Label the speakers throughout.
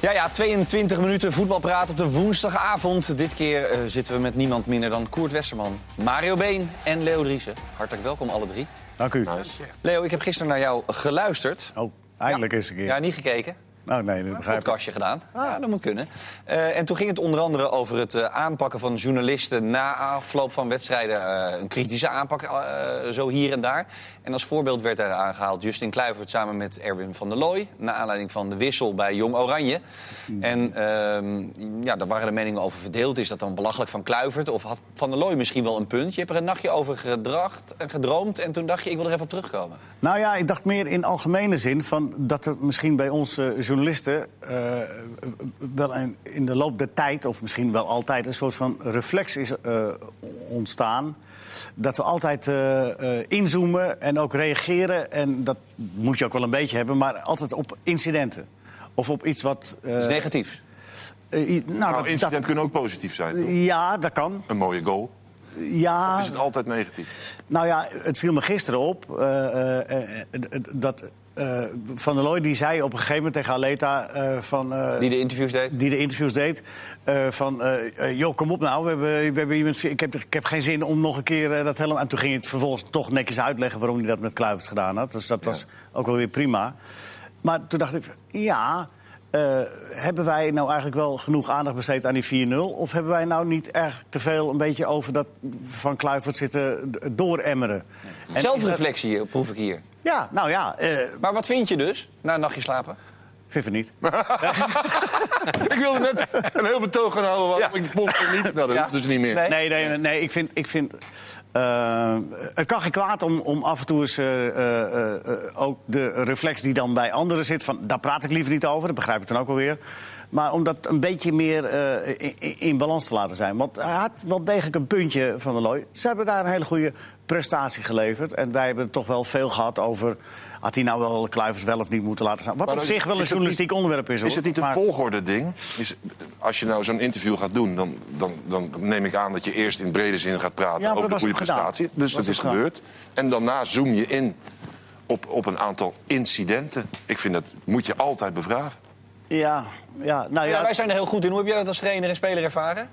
Speaker 1: Ja, ja, 22 minuten voetbalpraat op de woensdagavond. Dit keer eh, zitten we met niemand minder dan Koert Westerman, Mario Been en Leo Driessen. Hartelijk welkom, alle drie.
Speaker 2: Dank u.
Speaker 1: Leo, ik heb gisteren naar jou geluisterd.
Speaker 2: Oh, eindelijk eens een keer.
Speaker 1: Ja, niet gekeken.
Speaker 2: Oh nee, dat begrijp ik. Ah.
Speaker 1: Podcastje gedaan. Ja, dat moet kunnen. Eh, en toen ging het onder andere over het eh, aanpakken van journalisten na afloop van wedstrijden. eh, een kritische aanpak, eh, zo hier en daar. En als voorbeeld werd daar aangehaald Justin Kluivert samen met Erwin van der Looy. Naar aanleiding van de wissel bij Jong Oranje.
Speaker 2: Hmm.
Speaker 1: En ehm, ja, daar waren de meningen over verdeeld. Is dat dan belachelijk van Kluivert? Of had Van der Looy misschien wel een punt? Je hebt er een nachtje over gedracht en gedroomd. En toen dacht je, ik wil er even op terugkomen.
Speaker 2: Nou ja, ik dacht meer in algemene zin van dat er misschien bij ons eh, journalisten eh, wel een- in de loop der tijd, of misschien wel altijd, een soort van reflex is eh, ontstaan. Dat we altijd eh, eh, inzoomen en ook reageren. En dat moet je ook wel een beetje hebben, maar altijd op incidenten. Of op iets wat. eh,
Speaker 1: Dat is negatief.
Speaker 2: eh, i- nou,
Speaker 3: Nou,
Speaker 2: dat-
Speaker 3: incidenten
Speaker 2: dat-
Speaker 3: kunnen ook positief zijn. toch?
Speaker 2: ja, Ah, dat kan.
Speaker 3: Een mooie goal.
Speaker 2: Ja,
Speaker 3: Is het altijd negatief?
Speaker 2: Nou ja, het viel me gisteren op eh, eh, eh, eh, dat eh, Van der Looy die zei op een gegeven moment tegen Aleta eh, van. eh,
Speaker 1: Die de interviews deed.
Speaker 2: die de interviews deed. eh, van, eh, eh, joh, kom op nou, we hebben, we hebben iemand, ik, heb, ik heb geen zin om nog een keer eh, dat helemaal... En toen ging hij het vervolgens toch netjes uitleggen waarom hij dat met Kluivert gedaan had. Dus dat was ook wel weer prima. Maar toen dacht ik, van, ja, eh, hebben wij nou eigenlijk wel genoeg aandacht besteed aan die 4-0? Of hebben wij nou niet erg te veel een beetje over dat van Kluivert zitten d- dooremmeren? En is
Speaker 1: Zelfreflectie eh, proef ik hier.
Speaker 2: dat- Ja, nou ja, eh
Speaker 1: Maar wat vind je dus na een nachtje slapen?
Speaker 2: vind het niet.
Speaker 3: ik wilde net een heel betoog gaan houden waarom ik de volgende niet... Nou, dat
Speaker 1: Ja.
Speaker 3: hoeft dus niet meer.
Speaker 1: Nee.
Speaker 2: Nee, nee, nee, nee, ik vind. Ik vind eh, het kan geen kwaad om, om af en toe eens eh, eh, eh, ook de reflex die dan bij anderen zit. Van, daar praat ik liever niet over, dat begrijp ik dan ook alweer. Maar om dat een beetje meer eh, in- in, in balans te laten zijn. Want hij had wel degelijk een puntje van de looi. Ze hebben daar een hele goede prestatie geleverd. En wij hebben toch wel veel gehad over. Had hij nou wel Kluivers wel of niet moeten laten staan? Wat
Speaker 3: Maar
Speaker 2: op
Speaker 3: is-
Speaker 2: zich wel
Speaker 3: is
Speaker 2: een
Speaker 3: het
Speaker 2: journalistiek
Speaker 3: niet-
Speaker 2: onderwerp is.
Speaker 3: Is
Speaker 2: hoor.
Speaker 3: het niet een
Speaker 2: Maar-
Speaker 3: volgorde ding? Is, als je nou zo'n interview gaat doen, dan, dan, dan neem ik aan dat je eerst in brede zin gaat praten
Speaker 2: Ja, maar
Speaker 3: over de
Speaker 2: dat was
Speaker 3: goede
Speaker 2: ook gedaan.
Speaker 3: prestatie. Dus
Speaker 2: Was
Speaker 3: dat
Speaker 2: ook
Speaker 3: is
Speaker 2: gedaan.
Speaker 3: gebeurd. En daarna zoom je in op, op een aantal incidenten. Ik vind dat moet je altijd bevragen.
Speaker 2: Ja, ja, nou
Speaker 1: Ja,
Speaker 2: ja,
Speaker 1: wij zijn er heel goed in. Hoe heb jij dat als trainer en speler ervaren?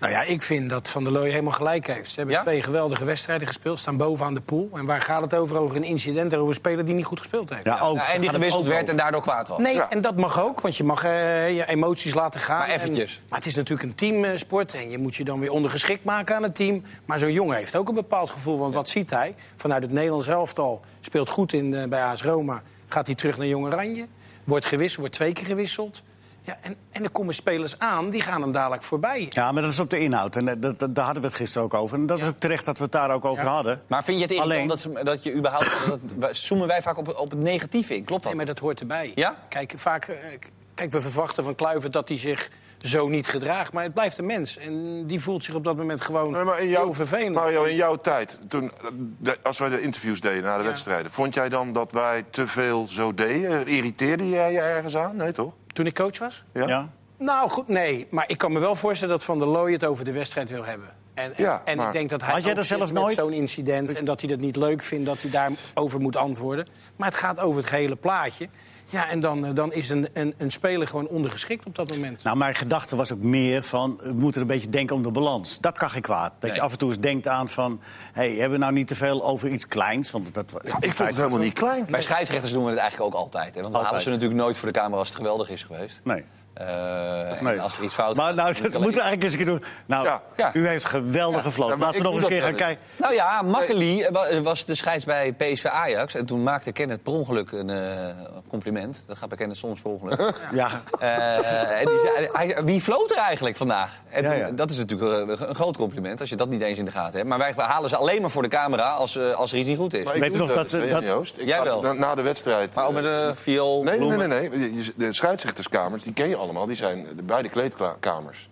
Speaker 4: Nou ja, ik vind dat Van der Looy helemaal gelijk heeft. Ze hebben
Speaker 1: Ja?
Speaker 4: twee geweldige wedstrijden gespeeld, staan bovenaan de pool. En waar gaat het over? Over een incident en over een speler die niet goed gespeeld heeft.
Speaker 2: ja, ook.
Speaker 1: Ja, en die
Speaker 2: Gaat het
Speaker 1: gewisseld
Speaker 2: ook
Speaker 1: werd en daardoor kwaad was.
Speaker 4: Nee,
Speaker 3: Ja.
Speaker 4: en dat mag ook, want je mag eh, je emoties laten gaan.
Speaker 1: Maar eventjes.
Speaker 4: En- maar het is natuurlijk een teamsport en je moet je dan weer ondergeschikt maken aan het team. Maar zo'n jongen heeft ook een bepaald gevoel, want wat ziet hij? Vanuit het Nederlands elftal speelt goed in, eh, bij AS Roma, gaat hij terug naar Jong Oranje. Wordt gewisseld, wordt twee keer gewisseld. Ja, en, en er komen spelers aan, die gaan hem dadelijk voorbij.
Speaker 2: Ja, maar dat is op de inhoud. En eh, dat, dat- daar hadden we het gisteren ook over. En dat is ook terecht dat we het daar ook over hadden.
Speaker 3: Nou,
Speaker 1: Maar vind je het
Speaker 2: Alleen-
Speaker 1: irritant dat, dat je überhaupt... Dat, wij- zoomen wij vaak op, op het negatieve in, klopt dat?
Speaker 4: Nee, maar dat hoort erbij.
Speaker 1: Ja?
Speaker 4: Kijk, vaak, eh, k- kijk, we verwachten van Kluivert dat hij zich zo niet gedraagt. Maar het blijft een mens. En die voelt zich op dat moment gewoon
Speaker 3: Nee, maar in jouw,
Speaker 4: heel vervelend.
Speaker 3: Mario, in jouw tijd, toen, eh, de- als wij de interviews deden na de wedstrijden... vond jij dan dat wij te veel zo deden? Irriteerde jij je ergens aan? Nee, toch?
Speaker 4: Toen ik coach was?
Speaker 2: Ja.
Speaker 4: Nou, goed, nee. Maar ik kan me wel voorstellen dat Van der Looy het over de wedstrijd wil hebben. En, en,
Speaker 3: Ja,
Speaker 4: en
Speaker 3: maar-
Speaker 4: ik denk dat hij
Speaker 2: Had jij
Speaker 4: ook
Speaker 2: dat
Speaker 4: zit
Speaker 2: zelf
Speaker 4: met
Speaker 2: nooit?
Speaker 4: zo'n incident en dat hij dat niet leuk vindt, dat hij daarover moet antwoorden. Maar het gaat over het gehele plaatje. Ja, en dan, eh, dan is een, een, een speler gewoon ondergeschikt op dat moment.
Speaker 2: Nou, mijn gedachte was ook meer van, we moeten een beetje denken om de balans. Dat kan geen kwaad. Dat je af en toe eens denkt aan van, hey, hebben we nou niet te veel over iets kleins? Want dat,
Speaker 3: Ja, ik vond het helemaal niet klein.
Speaker 1: Bij scheidsrechters doen we het eigenlijk ook altijd. Hè? Want we
Speaker 2: Altijd.
Speaker 1: halen ze natuurlijk nooit voor de camera als het geweldig is geweest.
Speaker 2: Nee.
Speaker 1: Eh, en
Speaker 2: nee.
Speaker 1: als er iets fout
Speaker 2: Maar
Speaker 1: gaat,
Speaker 2: nou,
Speaker 1: dan
Speaker 2: dat
Speaker 1: kan
Speaker 2: moeten we
Speaker 1: ik-
Speaker 2: eigenlijk eens een keer doen. Nou,
Speaker 3: Ja,
Speaker 1: ja.
Speaker 2: u heeft geweldig gevlogen.
Speaker 3: Ja, maar
Speaker 2: Laten we nog
Speaker 3: ik
Speaker 2: eens
Speaker 3: doe
Speaker 2: een keer
Speaker 3: dat
Speaker 2: gaan
Speaker 3: wel
Speaker 2: kijken.
Speaker 1: Nou ja, Makkeli eh, wa- eh, was de scheids bij PSV Ajax. En toen maakte Kenneth per ongeluk een eh, compliment. Dat gaat bij Kenneth soms per ongeluk.
Speaker 2: Ja.
Speaker 1: Eh, en die, zei- hij- wie floot er eigenlijk vandaag? En
Speaker 2: Ja,
Speaker 1: toen-
Speaker 2: ja.
Speaker 1: Dat is natuurlijk een, een groot compliment als je dat niet eens in de gaten hebt. Maar wij halen ze alleen maar voor de camera als, eh, als er iets niet goed is.
Speaker 3: Maar
Speaker 1: Maar,
Speaker 3: ik
Speaker 2: Weet u
Speaker 3: doe
Speaker 2: nog dat-
Speaker 3: eens, weet
Speaker 2: dat-
Speaker 3: je, Joost? Ik
Speaker 1: Jij
Speaker 3: ga
Speaker 1: wel.
Speaker 3: Na, na de wedstrijd...
Speaker 1: ook met
Speaker 3: eh,
Speaker 1: de viool,
Speaker 3: Nee, nee,
Speaker 1: bloemen.
Speaker 3: nee, nee. Je- je- De scheidsrechterkamers, die ken je allemaal, die zijn de- bij de kleedkamers.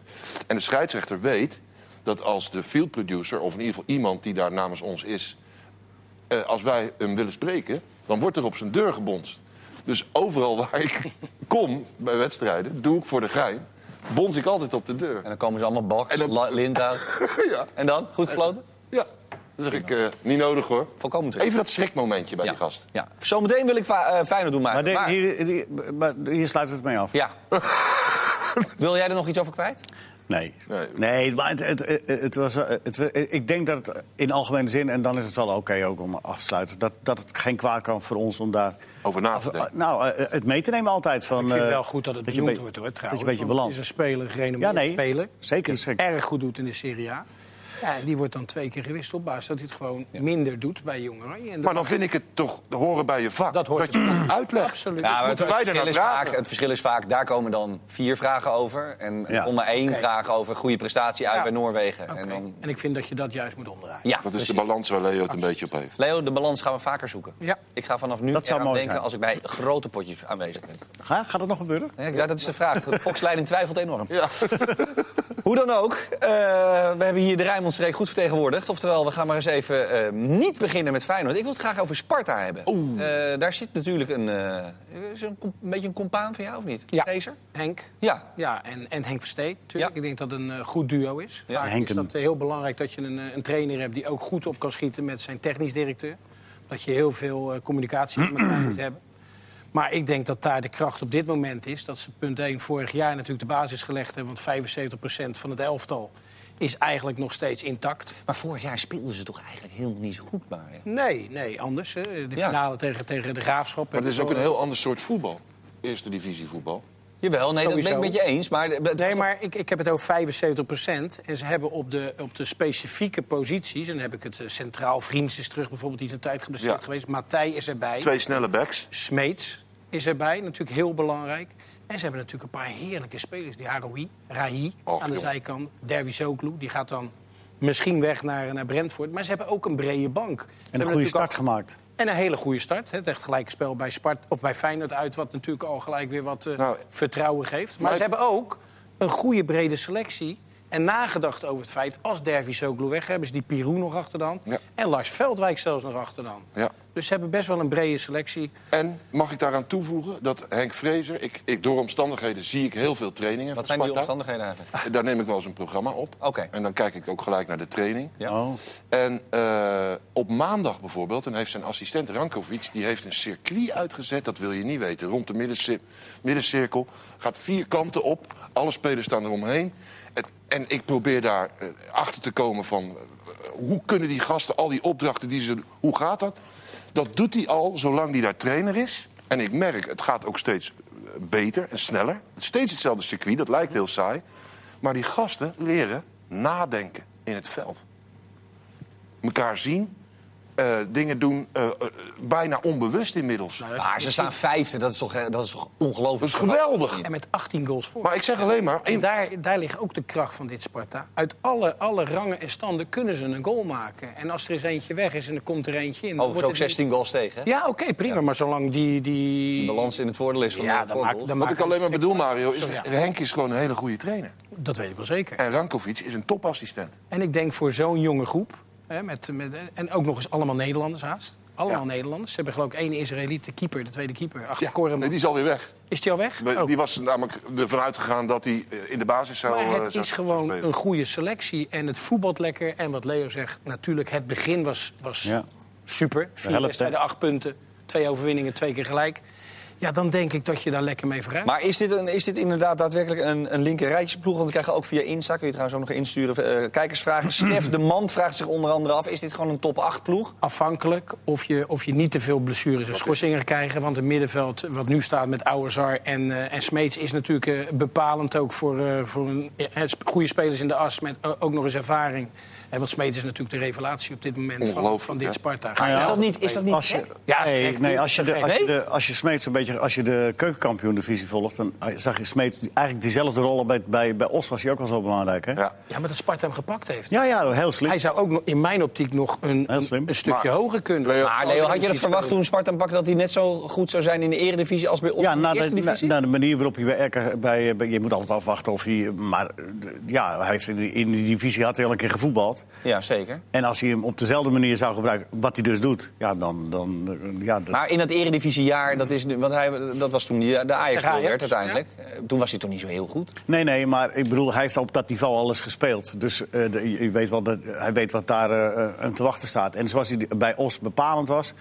Speaker 3: En de scheidsrechter weet dat als de field producer, of in ieder geval iemand die daar namens ons is, eh, als wij hem willen spreken, dan wordt er op zijn deur gebonst. Dus overal waar ik kom bij wedstrijden, doe ik voor de gein, bons ik altijd op de deur.
Speaker 1: En dan komen ze allemaal bak,
Speaker 3: En dan-
Speaker 1: la- lint uit.
Speaker 3: Ja,
Speaker 1: En dan? Goed gefloten?
Speaker 3: ja. Dan zeg ik, eh, niet nodig hoor.
Speaker 1: Volkomen terecht.
Speaker 3: Even dat schrikmomentje bij die gast.
Speaker 1: Ja. Zometeen wil ik fa- eh, Feyenoord doen maken.
Speaker 2: Maar, de-
Speaker 1: maar-
Speaker 2: hier, hier, maar hier sluit het mee af.
Speaker 1: Ja. Wil jij er nog iets over kwijt?
Speaker 2: Nee.
Speaker 3: Nee.
Speaker 2: Nee, maar het, het, het, het was, eh, het, ik denk dat het in algemene zin, en dan is het wel oké ook om af te sluiten, dat, dat het geen kwaad kan voor ons om daar.
Speaker 3: Over na te denken.
Speaker 2: nou, eh, het mee te nemen altijd. Van,
Speaker 4: Ik vind
Speaker 2: eh,
Speaker 4: wel goed dat het
Speaker 2: je
Speaker 4: benoemd
Speaker 2: be-
Speaker 4: wordt, hoor,
Speaker 2: dat je
Speaker 4: trouwens.
Speaker 2: een beetje
Speaker 4: want
Speaker 2: balans.
Speaker 4: het is een speler, gerenommeerd
Speaker 2: Ja, nee.
Speaker 4: speler.
Speaker 2: Zeker,
Speaker 4: Die het
Speaker 2: zeker.
Speaker 4: erg goed doet in de Serie A. Ja, en die wordt dan twee keer gewisseld op basis dat hij het gewoon minder doet bij Jong Oranje. En dat-
Speaker 3: Maar dan vind ik het toch horen bij je vak.
Speaker 4: Dat hoort
Speaker 3: je
Speaker 4: erbij.
Speaker 3: het uitlegt.
Speaker 4: Absoluut.
Speaker 3: Dus
Speaker 4: Ja,
Speaker 1: Nou, het,
Speaker 3: moeten wij
Speaker 1: verschil
Speaker 3: daarnaar
Speaker 1: is
Speaker 3: vragen.
Speaker 1: vaak, het verschil is vaak, daar komen dan vier vragen over. En
Speaker 2: Ja.
Speaker 1: onder één
Speaker 4: Oké.
Speaker 1: vraag over goede prestatie uit
Speaker 4: Ja.
Speaker 1: bij Noorwegen. En
Speaker 4: Oké.
Speaker 1: dan,
Speaker 4: En ik vind dat je dat juist moet omdraaien.
Speaker 1: ja,
Speaker 3: Dat is de
Speaker 1: precies.
Speaker 3: balans waar Leo het een beetje op heeft.
Speaker 1: Leo, de balans gaan we vaker zoeken.
Speaker 4: Ja.
Speaker 1: Ik ga vanaf nu
Speaker 2: Dat zou
Speaker 1: eraan
Speaker 2: mooi
Speaker 1: denken
Speaker 2: zijn.
Speaker 1: als ik bij grote potjes aanwezig ben.
Speaker 2: Ga, gaat dat nog gebeuren?
Speaker 1: Ja, ja, dat is de vraag. De Volksleiding twijfelt enorm. Hoe dan ook, eh, we hebben hier de Rijnmondstreek goed vertegenwoordigd. Oftewel, we gaan maar eens even eh, niet beginnen met Feyenoord. Ik wil het graag over Sparta hebben. Eh, daar zit natuurlijk een, eh, is een, com- een beetje een compaan van jou, of niet?
Speaker 4: Ja.
Speaker 1: Racer?
Speaker 4: Henk.
Speaker 1: Ja.
Speaker 4: Ja, en, en Henk Verstee natuurlijk.
Speaker 1: Ja.
Speaker 4: Ik denk dat het een eh, goed duo is.
Speaker 1: Ja,
Speaker 4: Vaak
Speaker 2: Henk
Speaker 4: is
Speaker 2: en-
Speaker 4: dat eh, heel belangrijk dat je een, eh, een trainer hebt... die ook goed op kan schieten met zijn technisch directeur. Dat je heel veel eh, communicatie met elkaar moet hebben. Maar ik denk dat daar de kracht op dit moment is. Dat ze punt 1 vorig jaar natuurlijk de basis gelegd hebben. Want 75% van het elftal is eigenlijk nog steeds intact.
Speaker 1: Maar vorig jaar speelden ze toch eigenlijk helemaal niet zo goed, Mario?
Speaker 4: Nee, nee, anders. hè. De
Speaker 1: Ja.
Speaker 4: finale tegen, tegen de Graafschap.
Speaker 3: Maar het is ook een heel ander soort voetbal. Eerste divisie voetbal.
Speaker 1: Jawel, nee, dat
Speaker 4: Sowieso.
Speaker 1: ben ik met je eens. Maar, het was
Speaker 4: Nee,
Speaker 1: toch-
Speaker 4: maar ik, ik heb het over 75 En ze hebben op de, op de specifieke posities... en dan heb ik het eh, centraal Vriends is terug bijvoorbeeld... die is een tijd geblesseerd
Speaker 3: Ja.
Speaker 4: geweest. Matthij is erbij.
Speaker 3: Twee snelle backs.
Speaker 4: Smeets is erbij, natuurlijk heel belangrijk. En ze hebben natuurlijk een paar heerlijke spelers. Die Haroui, Rahi
Speaker 3: Och,
Speaker 4: aan de
Speaker 3: jongen.
Speaker 4: zijkant. Derwisoglu, die gaat dan misschien weg naar, naar Brentford. Maar ze hebben ook een brede bank. Ze
Speaker 2: En een
Speaker 4: hebben
Speaker 2: goede
Speaker 4: natuurlijk
Speaker 2: start
Speaker 4: al-
Speaker 2: gemaakt.
Speaker 4: en een hele goede start. hè. Het echt gelijk spel bij, Spart, of bij Feyenoord uit... wat natuurlijk al gelijk weer wat eh,
Speaker 3: Nou,
Speaker 4: vertrouwen geeft. Maar,
Speaker 3: maar
Speaker 4: ze
Speaker 3: ik-
Speaker 4: hebben ook een goede brede selectie... en nagedacht over het feit, als Dervisoglu weg... hebben ze die Pirou nog achter de hand.
Speaker 3: Ja.
Speaker 4: En Lars Veldwijk zelfs nog achter de hand.
Speaker 3: Ja.
Speaker 4: Dus ze hebben best wel een brede selectie.
Speaker 3: En mag ik daaraan toevoegen dat Henk Vrezer... Ik, ik, door omstandigheden zie ik heel veel trainingen
Speaker 1: Wat
Speaker 3: van
Speaker 1: zijn die
Speaker 3: Sparta.
Speaker 1: omstandigheden eigenlijk?
Speaker 3: Daar neem ik wel eens een programma op.
Speaker 1: Oké.
Speaker 3: En dan kijk ik ook gelijk naar de training.
Speaker 1: Ja.
Speaker 2: Oh.
Speaker 3: En eh, op maandag bijvoorbeeld, dan heeft zijn assistent Rankovic... die heeft een circuit uitgezet, dat wil je niet weten. Rond de middenci- middencirkel, gaat vier kanten op. Alle spelers staan eromheen. En, en ik probeer daar eh, achter te komen van... eh, hoe kunnen die gasten al die opdrachten die ze... doen, Hoe gaat dat? Dat doet hij al zolang hij daar trainer is. En ik merk, het gaat ook steeds eh, beter en sneller. Steeds hetzelfde circuit, dat lijkt heel saai. Maar die gasten leren nadenken in het veld elkaar zien. eh, dingen doen, eh, eh, bijna onbewust inmiddels.
Speaker 4: Nou
Speaker 1: Maar ze staan vijfde, dat is toch, eh, dat is toch ongelooflijk?
Speaker 3: Dat is geweldig.
Speaker 4: En met 18 goals voor.
Speaker 3: Maar ik zeg alleen maar...
Speaker 4: En
Speaker 3: één-
Speaker 4: daar, daar ligt ook de kracht van dit Sparta. Uit alle, alle rangen en standen kunnen ze een goal maken. En als er eens eentje weg is en er komt er eentje in... dan
Speaker 1: Overigens
Speaker 4: wordt
Speaker 1: Oh, ook
Speaker 4: het niet-
Speaker 1: 16 goals tegen, hè?
Speaker 4: Ja, oké, prima. Maar zolang die... die...
Speaker 1: De balans in het voordeel is van
Speaker 4: Ja,
Speaker 1: de
Speaker 4: dan maakt-
Speaker 1: voorgoals.
Speaker 4: dan
Speaker 3: Wat ik alleen maar bedoel, Mario, is
Speaker 4: Sorry, ja.
Speaker 3: Henk is gewoon een hele goede trainer.
Speaker 4: Dat weet ik wel zeker.
Speaker 3: En Rankovic is een topassistent.
Speaker 4: En ik denk voor zo'n jonge groep... Hè, met, met, en ook nog eens allemaal Nederlanders haast. Allemaal
Speaker 3: Ja.
Speaker 4: Nederlanders. Ze hebben geloof ik één Israëliet, de keeper, de tweede keeper. Achter
Speaker 3: Ja,
Speaker 4: ja, Koreman.
Speaker 3: nee, die is alweer weg.
Speaker 4: Is die al weg?
Speaker 3: We-
Speaker 4: Oh.
Speaker 3: Die was namelijk ervan uitgegaan dat hij eh, in de basis zou...
Speaker 4: Maar
Speaker 3: eh,
Speaker 4: het
Speaker 3: zou
Speaker 4: is gewoon
Speaker 3: spelen.
Speaker 4: een goede selectie. En het voetbalt lekker. En wat Leo zegt, natuurlijk, het begin was, was
Speaker 2: Ja.
Speaker 4: super. Vier
Speaker 2: helpt, hè?
Speaker 4: wedstrijden, acht punten. Twee overwinningen, twee keer gelijk. Ja, dan denk ik dat je daar lekker mee vooruit
Speaker 1: Maar is dit, een, is dit inderdaad daadwerkelijk een, een linker rijtjesploeg? Want we krijgen ook via Insta, kun je trouwens ook nog insturen, eh, kijkersvragen. Stef de Mand vraagt zich onder andere af, is dit gewoon een top 8 ploeg?
Speaker 4: afhankelijk of je, of je niet te veel blessures en schorsingen krijgt. Want het middenveld, wat nu staat met Ouwezar en, eh, en Smeets... is natuurlijk eh, bepalend ook voor, eh, voor een, eh, het sp- goede spelers in de as... met eh, ook nog eens ervaring. En want Smeets is natuurlijk de revelatie op dit moment van,
Speaker 3: Ongelooflijk,
Speaker 4: van dit
Speaker 3: hè?
Speaker 4: Sparta.
Speaker 2: ja.
Speaker 1: Is dat niet, is dat niet
Speaker 2: Als je,
Speaker 1: gek?
Speaker 4: Ja, is
Speaker 2: nee,
Speaker 4: gek,
Speaker 2: nee,
Speaker 4: tuurlijk,
Speaker 2: als je
Speaker 4: is
Speaker 2: de,
Speaker 4: gek.
Speaker 2: als je
Speaker 1: Nee?
Speaker 2: de, als je Smeets een beetje, als je de keukenkampioen divisie volgt, dan eh, zag je Smeets die- eigenlijk diezelfde rol al bij, bij, bij Os was hij ook al zo belangrijk, hè?
Speaker 3: Ja.
Speaker 4: Ja, maar dat Sparta hem gepakt heeft.
Speaker 2: ja, ja, heel slim.
Speaker 4: Hij zou ook nog, in mijn optiek nog een,
Speaker 2: Heel slim.
Speaker 4: een stukje
Speaker 3: Maar-
Speaker 4: hoger kunnen.
Speaker 3: Leo-
Speaker 1: Maar Leo, had je dat verwacht toen Sparta hem pakte dat hij net zo goed zou zijn in de eredivisie als bij ons
Speaker 2: Ja,
Speaker 1: in de
Speaker 2: na
Speaker 1: eerste
Speaker 2: de, na,
Speaker 1: divisie?
Speaker 2: na de manier waarop hij bij, RK bij, eh, bij- Je moet altijd afwachten of hij... Maar eh, ja, hij heeft in, die- in die divisie had hij al een keer gevoetbald.
Speaker 1: Ja, zeker.
Speaker 2: En als hij hem op dezelfde manier zou gebruiken, wat hij dus doet... Ja, dan... dan eh, ja, dat-
Speaker 1: Maar in dat eredivisiejaar, dat is nu, want hij, dat was toen die, de ajax
Speaker 4: Tegen Ajax,
Speaker 1: werd uiteindelijk. Eh, Toen was hij toen niet zo heel goed.
Speaker 2: Nee, nee, maar ik bedoel, hij heeft op dat niveau alles gespeeld. Dus eh, de- je, je weet wel dat, hij weet wat daar eh, eh, hem te wachten staat. En zoals hij bij Os bepalend was,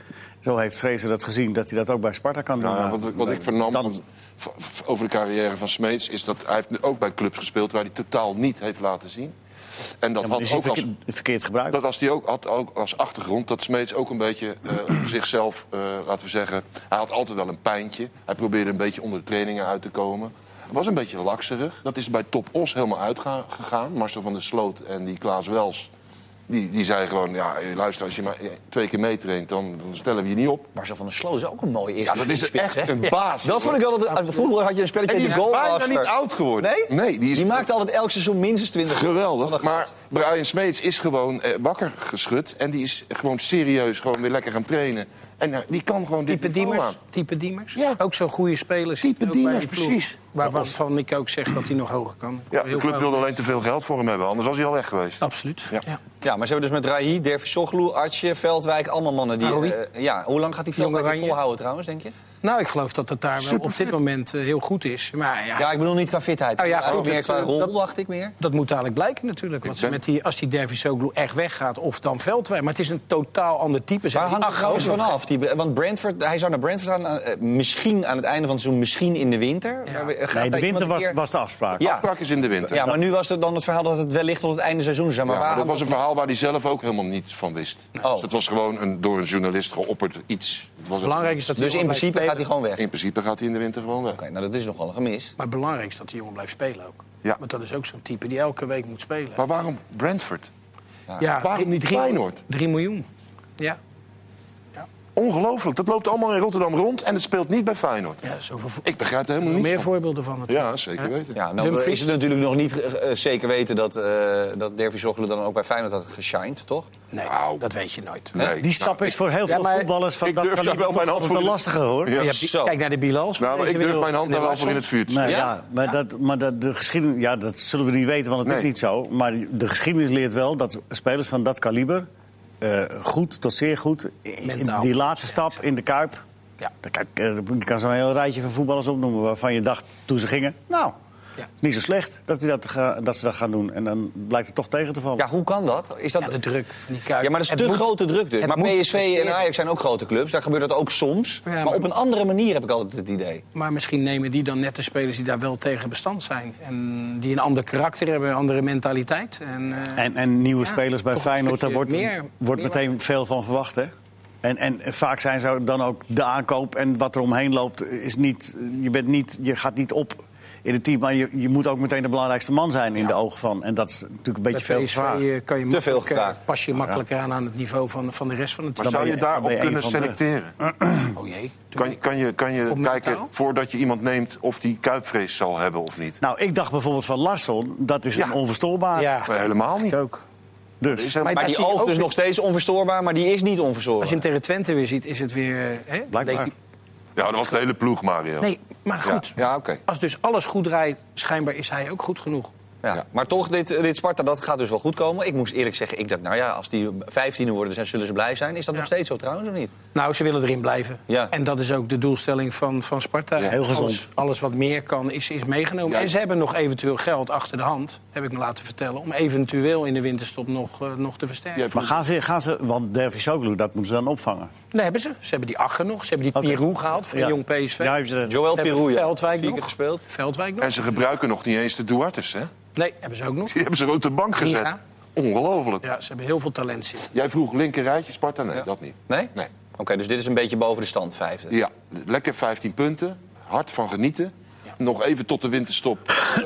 Speaker 2: zo heeft Vrezen dat gezien dat hij dat ook bij Sparta kan doen.
Speaker 3: Nou, ja, wat, wat ik vernam
Speaker 2: Dan-
Speaker 3: van- v- v- over de carrière van Smeets... is dat hij heeft ook bij clubs gespeeld waar hij totaal niet heeft laten zien. En dat
Speaker 2: Ja, maar
Speaker 3: had
Speaker 2: is hij
Speaker 3: ook als,
Speaker 2: verkeerd, verkeerd gebruikt.
Speaker 3: dat als die ook, had ook als achtergrond dat Smeets ook een beetje eh, zichzelf, eh, laten we zeggen... Hij had altijd wel een pijntje. Hij probeerde een beetje onder de trainingen uit te komen. Hij was een beetje lakserig. Dat is bij Top Os helemaal uitgegaan. Marcel van der Sloot en die Klaas Wels... Die, die zei gewoon, ja, luister, als je maar eh, twee keer meetraint... dan, dan stellen we je niet op.
Speaker 1: Marcel van der Sloot is ook een mooie eerste
Speaker 3: Ja, dat is
Speaker 1: spits,
Speaker 3: echt
Speaker 1: hè?
Speaker 3: een baas.
Speaker 1: Dat vond ik altijd... Nou, Vroeger had je een spelletje
Speaker 3: En die
Speaker 1: de
Speaker 3: is bijna
Speaker 1: goalmaster.
Speaker 3: niet oud geworden.
Speaker 1: Nee?
Speaker 3: Nee, die is-
Speaker 1: maakte altijd elk seizoen minstens 20
Speaker 3: Geweldig. Maar Brian Smeets is gewoon eh, wakker geschud. En die is gewoon serieus gewoon weer lekker gaan trainen. En eh, die kan gewoon dit
Speaker 4: Type
Speaker 3: niveau
Speaker 4: Diemers,
Speaker 3: aan.
Speaker 4: type Diemers.
Speaker 3: Ja.
Speaker 4: Ook zo'n goede speler. zit
Speaker 3: Type
Speaker 4: ook bij
Speaker 3: Diemers,
Speaker 4: die ploeg.
Speaker 3: precies.
Speaker 4: Waar, waarvan ik ook zeg dat hij nog hoger kan.
Speaker 3: Ja, de club wilde alleen te veel geld voor hem hebben. Anders was hij al weg geweest.
Speaker 4: Absoluut.
Speaker 3: Ja.
Speaker 4: Ja.
Speaker 1: Ja, maar ze hebben dus met Rahi, Dervisoglu, Atje, Veldwijk... allemaal mannen die...
Speaker 4: Aroui.
Speaker 1: eh, ja, hoe lang gaat die Veldwijk
Speaker 4: Oranje.
Speaker 1: nog volhouden trouwens, denk je?
Speaker 4: Nou, ik geloof dat dat daar wel op dit moment eh, heel goed is. Maar ja,
Speaker 1: Ja, ik bedoel niet qua fitheid.
Speaker 3: Oh
Speaker 4: Nou ja,
Speaker 1: Maar
Speaker 4: goed,
Speaker 1: meer
Speaker 4: het,
Speaker 1: qua
Speaker 4: eh,
Speaker 1: rol,
Speaker 4: dat-
Speaker 1: dacht ik meer.
Speaker 4: dat moet dadelijk blijken natuurlijk. Want ze met die, als die Dervisoglu echt weggaat of dan Veldwijk. Maar het is een totaal ander type. Zijn
Speaker 1: Waar
Speaker 4: die
Speaker 1: hangt het
Speaker 4: acht
Speaker 3: oh,
Speaker 1: grootste
Speaker 4: gozer
Speaker 1: van af? Die, want Brentford, hij zou naar Brentford gaan, eh, misschien aan het einde van het seizoen, misschien in de winter. Maar, eh, gaat
Speaker 2: nee, de
Speaker 1: daar
Speaker 2: winter
Speaker 1: iemand een
Speaker 2: was,
Speaker 1: keer-
Speaker 2: was de afspraak.
Speaker 1: Ja.
Speaker 3: Afspraak is in de winter. Ja,
Speaker 1: Ja, maar nu was het dan het verhaal dat het wellicht tot het einde seizoen zou zijn. Maar
Speaker 3: maar
Speaker 1: waar
Speaker 3: dat was
Speaker 1: hangt
Speaker 3: een verhaal waar hij zelf ook helemaal niets van wist.
Speaker 1: Oh.
Speaker 3: Dus dat was gewoon een, door een journalist geopperd iets. Het was
Speaker 4: Belangrijk is dat die
Speaker 1: Dus in
Speaker 4: jongen
Speaker 1: principe
Speaker 4: blijft
Speaker 1: gaat hij
Speaker 4: spelen.
Speaker 1: gewoon weg. Oké,
Speaker 3: In principe gaat hij in de winter gewoon weg.
Speaker 1: nou dat is nogal een gemis.
Speaker 4: Maar belangrijk is dat die jongen blijft spelen ook.
Speaker 3: Ja.
Speaker 4: Want dat is ook zo'n type die elke week moet spelen.
Speaker 3: Maar waarom Brentford?
Speaker 4: ja,
Speaker 3: waarom
Speaker 4: drie-
Speaker 3: niet
Speaker 4: drie-
Speaker 3: Feyenoord?
Speaker 4: Drie miljoen. Ja.
Speaker 3: Ongelooflijk. Dat loopt allemaal in Rotterdam rond en het speelt niet bij Feyenoord.
Speaker 4: ja zoveel vo-
Speaker 3: Ik begrijp er helemaal
Speaker 4: nog
Speaker 3: niet
Speaker 4: meer
Speaker 3: van.
Speaker 4: voorbeelden van het.
Speaker 3: Ja, zeker weten.
Speaker 1: Ja, nou
Speaker 4: Dumfries.
Speaker 1: is het natuurlijk nog niet eh, eh, zeker weten dat, eh dat Dervisoglu dan ook bij Feyenoord had geshined, toch?
Speaker 4: Nee,
Speaker 3: Nou.
Speaker 4: dat weet je nooit.
Speaker 3: Nee. Nou,
Speaker 2: Die stap is voor heel
Speaker 4: Ja,
Speaker 2: veel
Speaker 4: maar
Speaker 2: voetballers van
Speaker 3: ik
Speaker 2: dat
Speaker 3: durf
Speaker 2: kan
Speaker 3: daar wel mijn hand
Speaker 2: wordt
Speaker 3: voor
Speaker 2: een
Speaker 3: in-
Speaker 2: lastiger hoor.
Speaker 3: Ja.
Speaker 4: Je hebt die-
Speaker 1: Zo.
Speaker 4: kijk naar de Bilals. van
Speaker 3: Nou,
Speaker 4: deze
Speaker 3: ik durf
Speaker 4: wereld.
Speaker 3: mijn hand daar wel voor in het vuur te
Speaker 2: Nee,
Speaker 3: steken.
Speaker 2: ja.
Speaker 1: Ja.
Speaker 2: maar, Dat, maar dat, de geschiedenis, ja, dat zullen we niet weten, want het is
Speaker 3: Nee.
Speaker 2: niet zo. Maar de geschiedenis leert wel dat spelers van dat kaliber... eh, goed tot zeer goed, in-
Speaker 4: Mentaal.
Speaker 2: die laatste stap in de Kuip...
Speaker 4: Ja.
Speaker 2: Dan kan, eh, je kan zo'n heel rijtje van voetballers opnoemen waarvan je dacht toen ze gingen... nou,
Speaker 4: Ja.
Speaker 2: niet zo slecht dat, die dat, ga- dat ze dat gaan doen. En dan blijkt het toch tegen te vallen.
Speaker 1: Ja, hoe kan dat? Is dat...
Speaker 4: Ja, de druk van die Kuip.
Speaker 1: Ja, maar dat is
Speaker 4: Het
Speaker 1: te
Speaker 4: moet-
Speaker 1: grote druk dus.
Speaker 4: het
Speaker 1: Maar
Speaker 4: moet
Speaker 1: PSV en
Speaker 4: presteren.
Speaker 1: Ajax zijn ook grote clubs. Daar gebeurt dat ook soms.
Speaker 4: Ja,
Speaker 1: maar
Speaker 4: maar-
Speaker 1: op een andere manier heb ik altijd het idee.
Speaker 4: Maar misschien nemen die dan net de spelers die daar wel tegen bestand zijn. En die een ander karakter hebben, een andere mentaliteit. En, eh,
Speaker 2: En, en nieuwe
Speaker 4: Ja,
Speaker 2: spelers bij
Speaker 4: toch een
Speaker 2: Feyenoord, daar
Speaker 4: stukje
Speaker 2: wordt,
Speaker 4: meer-
Speaker 2: wordt
Speaker 4: meer
Speaker 2: meteen veel van verwacht, hè? En, en vaak zijn ze dan ook de aankoop en wat er omheen loopt, is niet, je, bent niet, je gaat niet op in het team, maar je, je moet ook meteen de belangrijkste man zijn in de ogen van. En dat is natuurlijk een beetje
Speaker 4: bij
Speaker 2: veel
Speaker 4: PSV
Speaker 2: gevraagd.
Speaker 4: eh, kan je
Speaker 1: Te veel
Speaker 4: makkelijk, eh,
Speaker 1: gevraagd.
Speaker 4: pas je makkelijker aan aan het niveau van, van de rest van het
Speaker 3: Maar
Speaker 4: team.
Speaker 3: zou
Speaker 2: ben
Speaker 3: je,
Speaker 2: je- dan ben
Speaker 3: daarop
Speaker 2: je
Speaker 3: kunnen
Speaker 2: een van de-
Speaker 3: selecteren?
Speaker 4: Oh jee.
Speaker 3: Kan, je- kan je, kan je
Speaker 4: Op mentaal?
Speaker 3: kijken voordat je iemand neemt of die kuipvrees zal hebben of niet?
Speaker 2: Nou, ik dacht bijvoorbeeld van Larsson, dat is
Speaker 3: Ja.
Speaker 2: een onverstoorbaar.
Speaker 4: Ja,
Speaker 3: Maar helemaal niet.
Speaker 4: ik ook.
Speaker 3: Er
Speaker 2: Dus.
Speaker 3: is helemaal-
Speaker 1: Maar
Speaker 4: daar
Speaker 1: die
Speaker 4: zie je
Speaker 1: oog
Speaker 4: ook
Speaker 1: dus
Speaker 4: weer-
Speaker 1: nog steeds onverstoorbaar, maar die is niet onverstoorbaar.
Speaker 4: Als je hem tegen Twente weer ziet, is het weer... eh, Hè?
Speaker 2: Blijkbaar.
Speaker 4: Leek-
Speaker 3: Ja, dat was de hele ploeg, Mario.
Speaker 4: Nee, maar
Speaker 3: Ja,
Speaker 4: goed.
Speaker 3: ja, oké.
Speaker 4: Als dus alles goed draait, schijnbaar is hij ook goed genoeg.
Speaker 1: Ja.
Speaker 3: Ja.
Speaker 1: Maar toch, dit, eh, dit Sparta, dat gaat dus wel goed komen. Ik moest eerlijk zeggen, ik dacht, nou ja, als die 15 worden, zijn, zullen ze blij zijn. Is dat nog steeds zo trouwens, of niet?
Speaker 4: Nou, ze willen erin blijven.
Speaker 1: Ja.
Speaker 4: En dat is ook de doelstelling van, van Sparta.
Speaker 2: heel gezond.
Speaker 4: Alles, alles wat meer kan, is, is meegenomen.
Speaker 3: Ja.
Speaker 4: En ze hebben nog eventueel geld achter de hand, heb ik me laten vertellen... om eventueel in de winterstop nog, eh, nog te versterken.
Speaker 3: Jij
Speaker 2: Maar
Speaker 3: vroeg-
Speaker 2: gaan ze, gaan ze, want Dervisoglu, dat moeten ze dan opvangen.
Speaker 4: Nee, hebben ze. Ze hebben die achter nog. Ze hebben die
Speaker 2: Oké.
Speaker 4: Pirou gehaald van
Speaker 2: Ja.
Speaker 4: Jong PSV.
Speaker 2: Ja, heb je dat-
Speaker 1: Joël
Speaker 4: Ze hebben
Speaker 1: Perouja,
Speaker 4: Veldwijk
Speaker 1: vier keer
Speaker 4: nog.
Speaker 1: gespeeld.
Speaker 4: Veldwijk nog.
Speaker 3: En ze gebruiken nog niet eens de Duartes, hè?
Speaker 4: Nee, hebben ze ook nog.
Speaker 3: Die hebben ze op de bank gezet.
Speaker 4: Ja.
Speaker 3: Ongelooflijk.
Speaker 4: Ja, ze hebben heel veel talent zitten.
Speaker 3: Jij vroeg linker rijtje, Sparta? Nee, dat niet.
Speaker 1: Nee?
Speaker 3: Nee.
Speaker 1: Oké, dus dit is een beetje boven de stand, vijfde.
Speaker 3: Ja, lekker 15 punten. Hard van genieten. Nog even tot de winterstop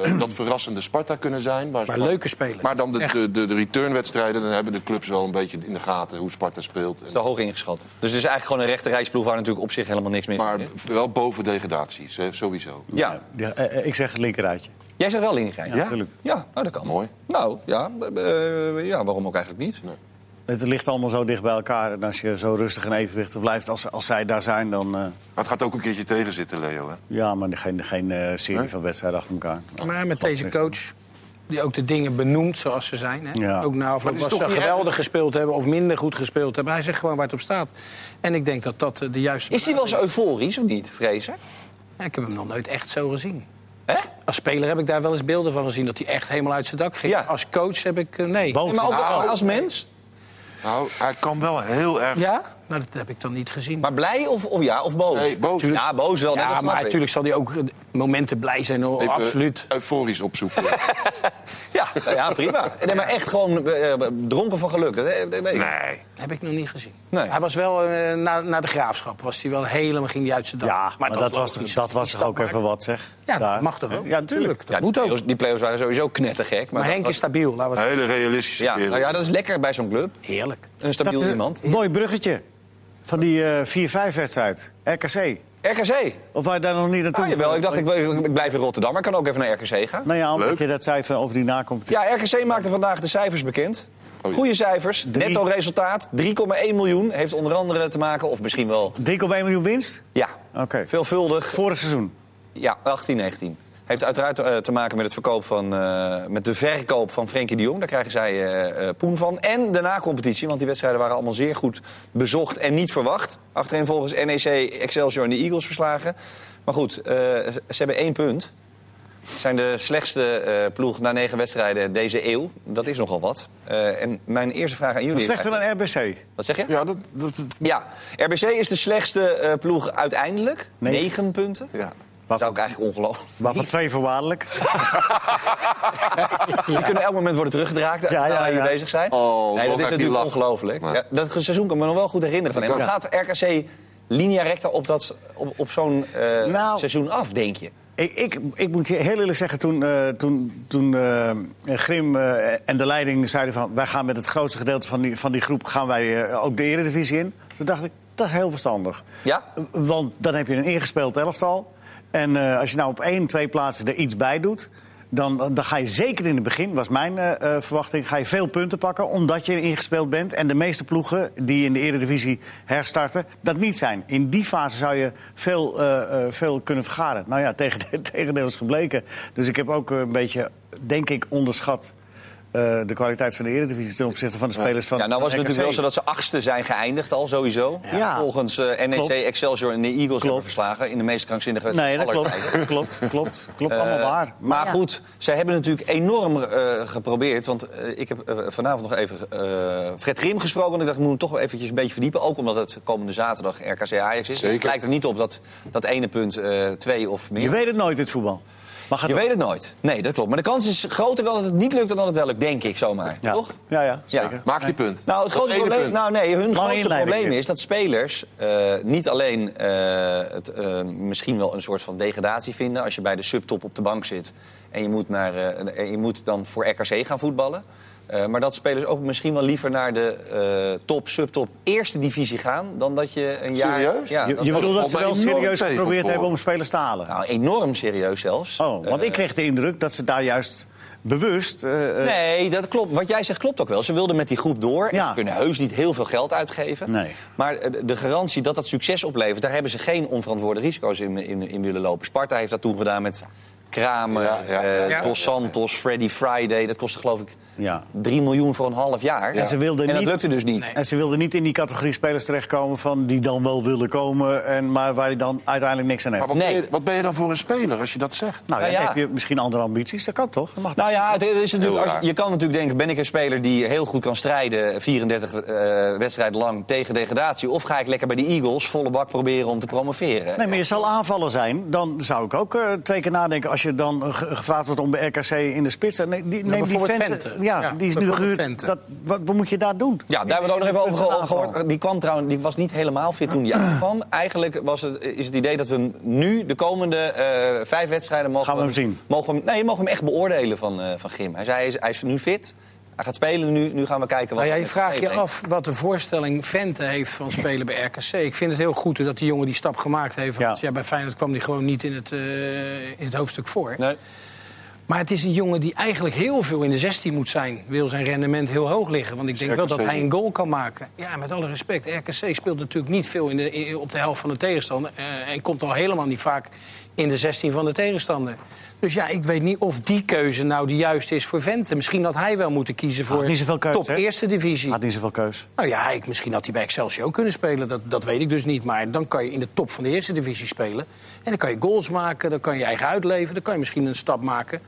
Speaker 3: eh, dat verrassende Sparta kunnen zijn. Waar ze
Speaker 4: Maar
Speaker 3: van-
Speaker 4: leuke spelers.
Speaker 3: Maar dan de,
Speaker 4: Echt.
Speaker 3: de, de, de returnwedstrijden, dan hebben de clubs wel een beetje in de gaten hoe Sparta speelt. En-
Speaker 1: Te hoog ingeschat. Dus het is eigenlijk gewoon een rechte rijsploeg waar natuurlijk op zich helemaal niks mis
Speaker 3: Maar
Speaker 1: is.
Speaker 3: wel boven degradaties, hè, sowieso.
Speaker 1: Ja,
Speaker 2: Ja, eh, eh, ik zeg linkeruitje.
Speaker 1: jij zegt wel linkerrijden.
Speaker 3: Ja?
Speaker 2: Natuurlijk.
Speaker 1: Ja, nou dat kan.
Speaker 3: Mooi.
Speaker 1: Nou, ja, eh, ja waarom ook eigenlijk niet?
Speaker 2: Het ligt allemaal zo dicht bij elkaar. En als je zo rustig en evenwichtig blijft als, als zij daar zijn, dan... eh,
Speaker 3: Maar het gaat ook een keertje tegenzitten, Leo. Hè?
Speaker 2: ja, maar geen, geen eh, serie van wedstrijden achter elkaar.
Speaker 4: Maar met deze coach die ook de dingen benoemt zoals ze zijn. Hè?
Speaker 2: Ja.
Speaker 4: Ook na afloop
Speaker 3: het is
Speaker 4: als ze
Speaker 3: toch niet
Speaker 4: geweldig gespeeld hebben of minder goed gespeeld hebben. Hij zegt gewoon waar het op staat. En ik denk dat dat eh, de juiste...
Speaker 1: Is hij wel zo euforisch of niet, Fraser?
Speaker 4: Ja, ik heb hem nog nooit echt zo gezien.
Speaker 1: Hè?
Speaker 4: Als speler heb ik daar wel eens beelden van gezien... dat hij echt helemaal uit zijn dak ging.
Speaker 1: Ja. Nou.
Speaker 4: Als coach heb ik... eh, nee.
Speaker 2: Boos.
Speaker 1: Nee, maar ook als mens?
Speaker 3: Nou, hij kan wel heel erg...
Speaker 4: Ja? Nou, dat heb ik dan niet gezien.
Speaker 1: Maar blij of, of ja, of boos?
Speaker 3: Nee, boos.
Speaker 1: Ja, boos wel. net
Speaker 4: ja,
Speaker 1: dat snap
Speaker 4: maar
Speaker 1: ik.
Speaker 4: natuurlijk zal hij ook eh, momenten blij zijn. hoor,
Speaker 3: Even
Speaker 4: absoluut.
Speaker 3: euforisch opzoeken.
Speaker 1: Ja, nou ja, prima. Nee, maar echt gewoon eh, eh, dronken van geluk. Dat, eh, dat weet ik.
Speaker 3: nee.
Speaker 4: Heb ik nog niet gezien.
Speaker 1: Nee.
Speaker 4: Hij was wel eh, na, na de graafschap. Was hij wel helemaal ging die uit zijn dak.
Speaker 2: Ja, maar, dat, was,
Speaker 4: logisch.
Speaker 2: dat was
Speaker 4: Die
Speaker 2: toch ook
Speaker 4: stap
Speaker 2: even wat, zeg.
Speaker 4: Ja, dat
Speaker 2: Daar.
Speaker 4: mag toch ook?
Speaker 2: Ja, natuurlijk.
Speaker 1: Ja, die playoffs- Die players waren sowieso knettergek. Maar,
Speaker 4: Maar
Speaker 1: dat
Speaker 4: Henk
Speaker 1: was-
Speaker 4: is stabiel. Laten we het-
Speaker 3: Hele realistische
Speaker 1: ja,
Speaker 3: kerel.
Speaker 1: nou ja, dat is lekker bij zo'n club.
Speaker 4: Heerlijk.
Speaker 1: Een stabiel
Speaker 2: Dat is
Speaker 1: iemand.
Speaker 2: een mooi bruggetje van die eh, 4-5 wedstrijd. RKC.
Speaker 1: RKC.
Speaker 2: Of wij daar nog niet naartoe
Speaker 1: Ah, jawel. Ik dacht, ik, ik blijf in Rotterdam, maar ik kan ook even naar RKC gaan.
Speaker 2: Nou ja, omdat
Speaker 3: Leuk.
Speaker 2: je dat zei van over die nakomt.
Speaker 1: Ja, RKC maakte vandaag de cijfers bekend.
Speaker 3: ja.
Speaker 1: Goede cijfers,
Speaker 2: Drie-
Speaker 1: netto resultaat, 3,1 miljoen. Heeft onder andere te maken, of misschien wel,
Speaker 2: 3,1 miljoen winst?
Speaker 1: ja,
Speaker 2: Oké.
Speaker 1: veelvuldig.
Speaker 2: Vorig seizoen.
Speaker 1: Ja, 18, 19. Heeft uiteraard eh, te maken met, het verkoop van, eh, met de verkoop van Frenkie de Jong. Daar krijgen zij eh, eh, poen van. En de na-competitie, want die wedstrijden waren allemaal zeer goed bezocht en niet verwacht. Achterin volgens NEC, Excelsior en de Eagles verslagen. Maar goed, eh, ze hebben één punt. Zijn de slechtste eh, ploeg na negen wedstrijden deze eeuw. Dat is nogal wat. Eh, en mijn eerste vraag aan jullie...
Speaker 2: Slechter dan RBC.
Speaker 1: Wat zeg je?
Speaker 3: Ja, dat, dat,
Speaker 1: Ja, RBC is de slechtste eh, ploeg uiteindelijk.
Speaker 2: Nee.
Speaker 1: Negen punten.
Speaker 3: ja.
Speaker 1: Dat zou ik eigenlijk ongelooflijk...
Speaker 2: Waarvan twee voorwaardelijk.
Speaker 1: Die kunnen elk moment worden teruggedraaid
Speaker 2: Ja,
Speaker 1: ja,
Speaker 2: ja,
Speaker 1: ja,
Speaker 2: ja.
Speaker 1: bezig zijn. nee,
Speaker 3: Oh,
Speaker 1: dat
Speaker 3: wat
Speaker 1: is
Speaker 3: gaat die
Speaker 1: natuurlijk
Speaker 3: lachen.
Speaker 1: ongelooflijk.
Speaker 3: Maar-
Speaker 1: Ja, dat seizoen kan ik me nog wel goed herinneren van hem.
Speaker 3: Ja.
Speaker 1: Gaat RKC linea recta op, dat- op, op zo'n eh,
Speaker 2: Nou.
Speaker 1: seizoen af, denk je?
Speaker 2: Ik, ik, ik moet je heel eerlijk zeggen, toen, eh, toen, toen eh, Grim eh, en de leiding zeiden van... wij gaan met het grootste gedeelte van die, van die groep gaan wij, eh, ook de eredivisie in. Toen dacht ik, dat is heel verstandig.
Speaker 1: Ja?
Speaker 2: Want dan heb je een ingespeeld elftal. En eh, als je nou op één, twee plaatsen er iets bij doet... Dan, dan ga je zeker in het begin, was mijn eh, eh, verwachting... ga je veel punten pakken, omdat je ingespeeld bent. En de meeste ploegen die in de eredivisie herstarten, dat niet zijn. In die fase zou je veel, eh, eh, veel kunnen vergaren. Nou ja, tegen tegendeel is gebleken. Dus ik heb ook eh, een beetje, denk ik, onderschat... eh, de kwaliteit van de eredivisie ten opzichte van de spelers van
Speaker 1: Ja, nou was het
Speaker 2: RKC.
Speaker 1: natuurlijk wel zo dat ze achtste zijn geëindigd al, sowieso.
Speaker 2: Ja.
Speaker 1: Volgens eh, NEC,
Speaker 2: Klopt.
Speaker 1: Excelsior en de Eagles hebben verslagen... in de meest krankzinnige wedstrijd
Speaker 2: Nee, dat
Speaker 1: aller tijden.
Speaker 2: klopt. Klopt, klopt, klopt.
Speaker 1: Eh,
Speaker 2: allemaal waar.
Speaker 1: Maar, goed, zij hebben natuurlijk enorm eh, geprobeerd. Want eh, ik heb eh, vanavond nog even eh, Fred Grim gesproken. En ik dacht, ik moet hem toch wel eventjes een beetje verdiepen. Ook omdat het komende zaterdag RKC Ajax is.
Speaker 3: Zeker.
Speaker 1: Het lijkt er niet op dat dat ene punt eh, twee of meer.
Speaker 2: Je weet het nooit, dit voetbal. Maar gaat
Speaker 1: Je weet het nooit. Nee, dat klopt. Maar de kans is groter dat het niet lukt dan dat het wel lukt, denk ik zomaar.
Speaker 2: ja.
Speaker 1: Toch?
Speaker 2: Ja, ja,
Speaker 1: Ja.
Speaker 2: zeker.
Speaker 3: Maak je punt.
Speaker 1: Nou, het
Speaker 3: Dat
Speaker 1: grote
Speaker 3: ene
Speaker 1: probleem,
Speaker 3: punt.
Speaker 1: nou nee, hun grootste
Speaker 2: inleiding
Speaker 1: probleem
Speaker 2: weer.
Speaker 1: is dat spelers eh, niet alleen eh, het, eh, misschien wel een soort van degradatie vinden als je bij de subtop op de bank zit en je moet, naar, eh, en je moet dan voor RKC gaan voetballen. Eh, maar dat spelers ook misschien wel liever naar de eh, top, subtop, eerste divisie gaan dan dat je een jaar.
Speaker 3: Serieus?
Speaker 1: Ja,
Speaker 2: Je,
Speaker 1: dat-
Speaker 2: je
Speaker 3: dat
Speaker 2: bedoelt dat
Speaker 3: valt
Speaker 2: ze
Speaker 3: mij
Speaker 2: wel
Speaker 3: enorm
Speaker 2: serieus
Speaker 3: tegen,
Speaker 2: geprobeerd
Speaker 3: hoor.
Speaker 2: hebben om spelers te halen?
Speaker 1: nou, enorm serieus zelfs. Eh,
Speaker 2: Oh, want ik kreeg de indruk dat ze daar juist bewust... eh, eh,
Speaker 1: Nee, dat klopt. Wat jij zegt klopt ook wel. Ze wilden met die groep door. En
Speaker 2: Ja.
Speaker 1: ze kunnen heus niet heel veel geld uitgeven.
Speaker 2: Nee.
Speaker 1: Maar eh, de garantie dat dat succes oplevert, daar hebben ze geen onverantwoorde risico's in, in, in willen lopen. Sparta heeft dat toen gedaan met Kramer,
Speaker 3: Ja, ja,
Speaker 1: eh,
Speaker 4: ja.
Speaker 1: Dos Santos, Freddy Friday. Dat kostte geloof ik
Speaker 2: Ja.
Speaker 1: 3 miljoen voor een half jaar.
Speaker 2: En ze wilden
Speaker 1: En dat
Speaker 2: niet-
Speaker 1: lukte dus niet.
Speaker 2: En ze wilden niet in die categorie spelers terechtkomen van die dan wel willen komen... En, maar waar je dan uiteindelijk niks aan hebt.
Speaker 3: Maar wat,
Speaker 1: Nee.
Speaker 3: ben je, wat ben je dan voor een speler als je dat zegt?
Speaker 2: nou,
Speaker 1: Nou
Speaker 2: dan
Speaker 1: ja.
Speaker 2: heb je misschien andere ambities. Dat kan toch? Dat mag
Speaker 1: Nou ja, het is natuurlijk,
Speaker 3: Heel
Speaker 1: als-
Speaker 3: raar.
Speaker 1: je kan natuurlijk denken, ben ik een speler die heel goed kan strijden... 34 eh, wedstrijden lang tegen degradatie... of ga ik lekker bij de Eagles volle bak proberen om te promoveren?
Speaker 2: Nee, maar je zal aanvallen zijn. Dan zou ik ook eh, twee keer nadenken als je dan eh, ge- gevraagd wordt om bij RKC in de spits. Nee, die, neem die
Speaker 4: bijvoorbeeld
Speaker 2: venten.
Speaker 4: Vente.
Speaker 2: Ja,
Speaker 4: Ja,
Speaker 2: die is nu
Speaker 4: bijvoorbeeld
Speaker 2: gehuurd.
Speaker 4: Vente.
Speaker 2: Dat, wat, wat moet je daar doen?
Speaker 1: Ja, daar hebben we het ook nog even over
Speaker 2: Een
Speaker 1: geho-
Speaker 2: aanval.
Speaker 1: gehoord. Die kwam trouwens, die was niet helemaal fit toen die uitkwam. Eigenlijk was het, is het idee dat we hem nu, de komende eh, vijf wedstrijden... Mogen
Speaker 2: Gaan we hem zien?
Speaker 1: Mogen we hem, nee, mogen we hem echt beoordelen van, eh, van Gim. Hij zei, hij is, hij is nu fit. Hij gaat spelen, nu, nu gaan we kijken wat...
Speaker 4: Nou ja, je
Speaker 1: het
Speaker 4: vraagt je
Speaker 1: meebrengt.
Speaker 4: af wat de voorstelling Vente heeft van spelen bij RKC. Ik vind het heel goed dat die jongen die stap gemaakt heeft. Want
Speaker 2: Ja.
Speaker 4: ja. bij Feyenoord kwam die gewoon niet in het, eh, in het hoofdstuk voor.
Speaker 1: Nee.
Speaker 4: Maar het is een jongen die eigenlijk heel veel in de 16 moet zijn. Wil zijn rendement heel hoog liggen. Want ik denk wel dat
Speaker 3: RKC.
Speaker 4: hij een goal kan maken. Ja, met alle respect. RKC speelt natuurlijk niet veel in de, in- op de helft van de tegenstander. eh, en komt al helemaal niet vaak in de 16 van de tegenstander. Dus ja, ik weet niet of die keuze nou de juiste is voor Vente. Misschien had hij wel moeten kiezen voor
Speaker 2: niet zoveel keus,
Speaker 4: top
Speaker 2: hè?
Speaker 4: eerste divisie.
Speaker 2: Had niet zoveel keus.
Speaker 4: Nou ja, ik, misschien had hij bij Excelsior ook kunnen spelen. Dat, dat weet ik dus niet. Maar dan kan je in de top van de eerste divisie spelen. En dan kan je goals maken, dan kan je eigen uitleven... dan kan je misschien een stap maken.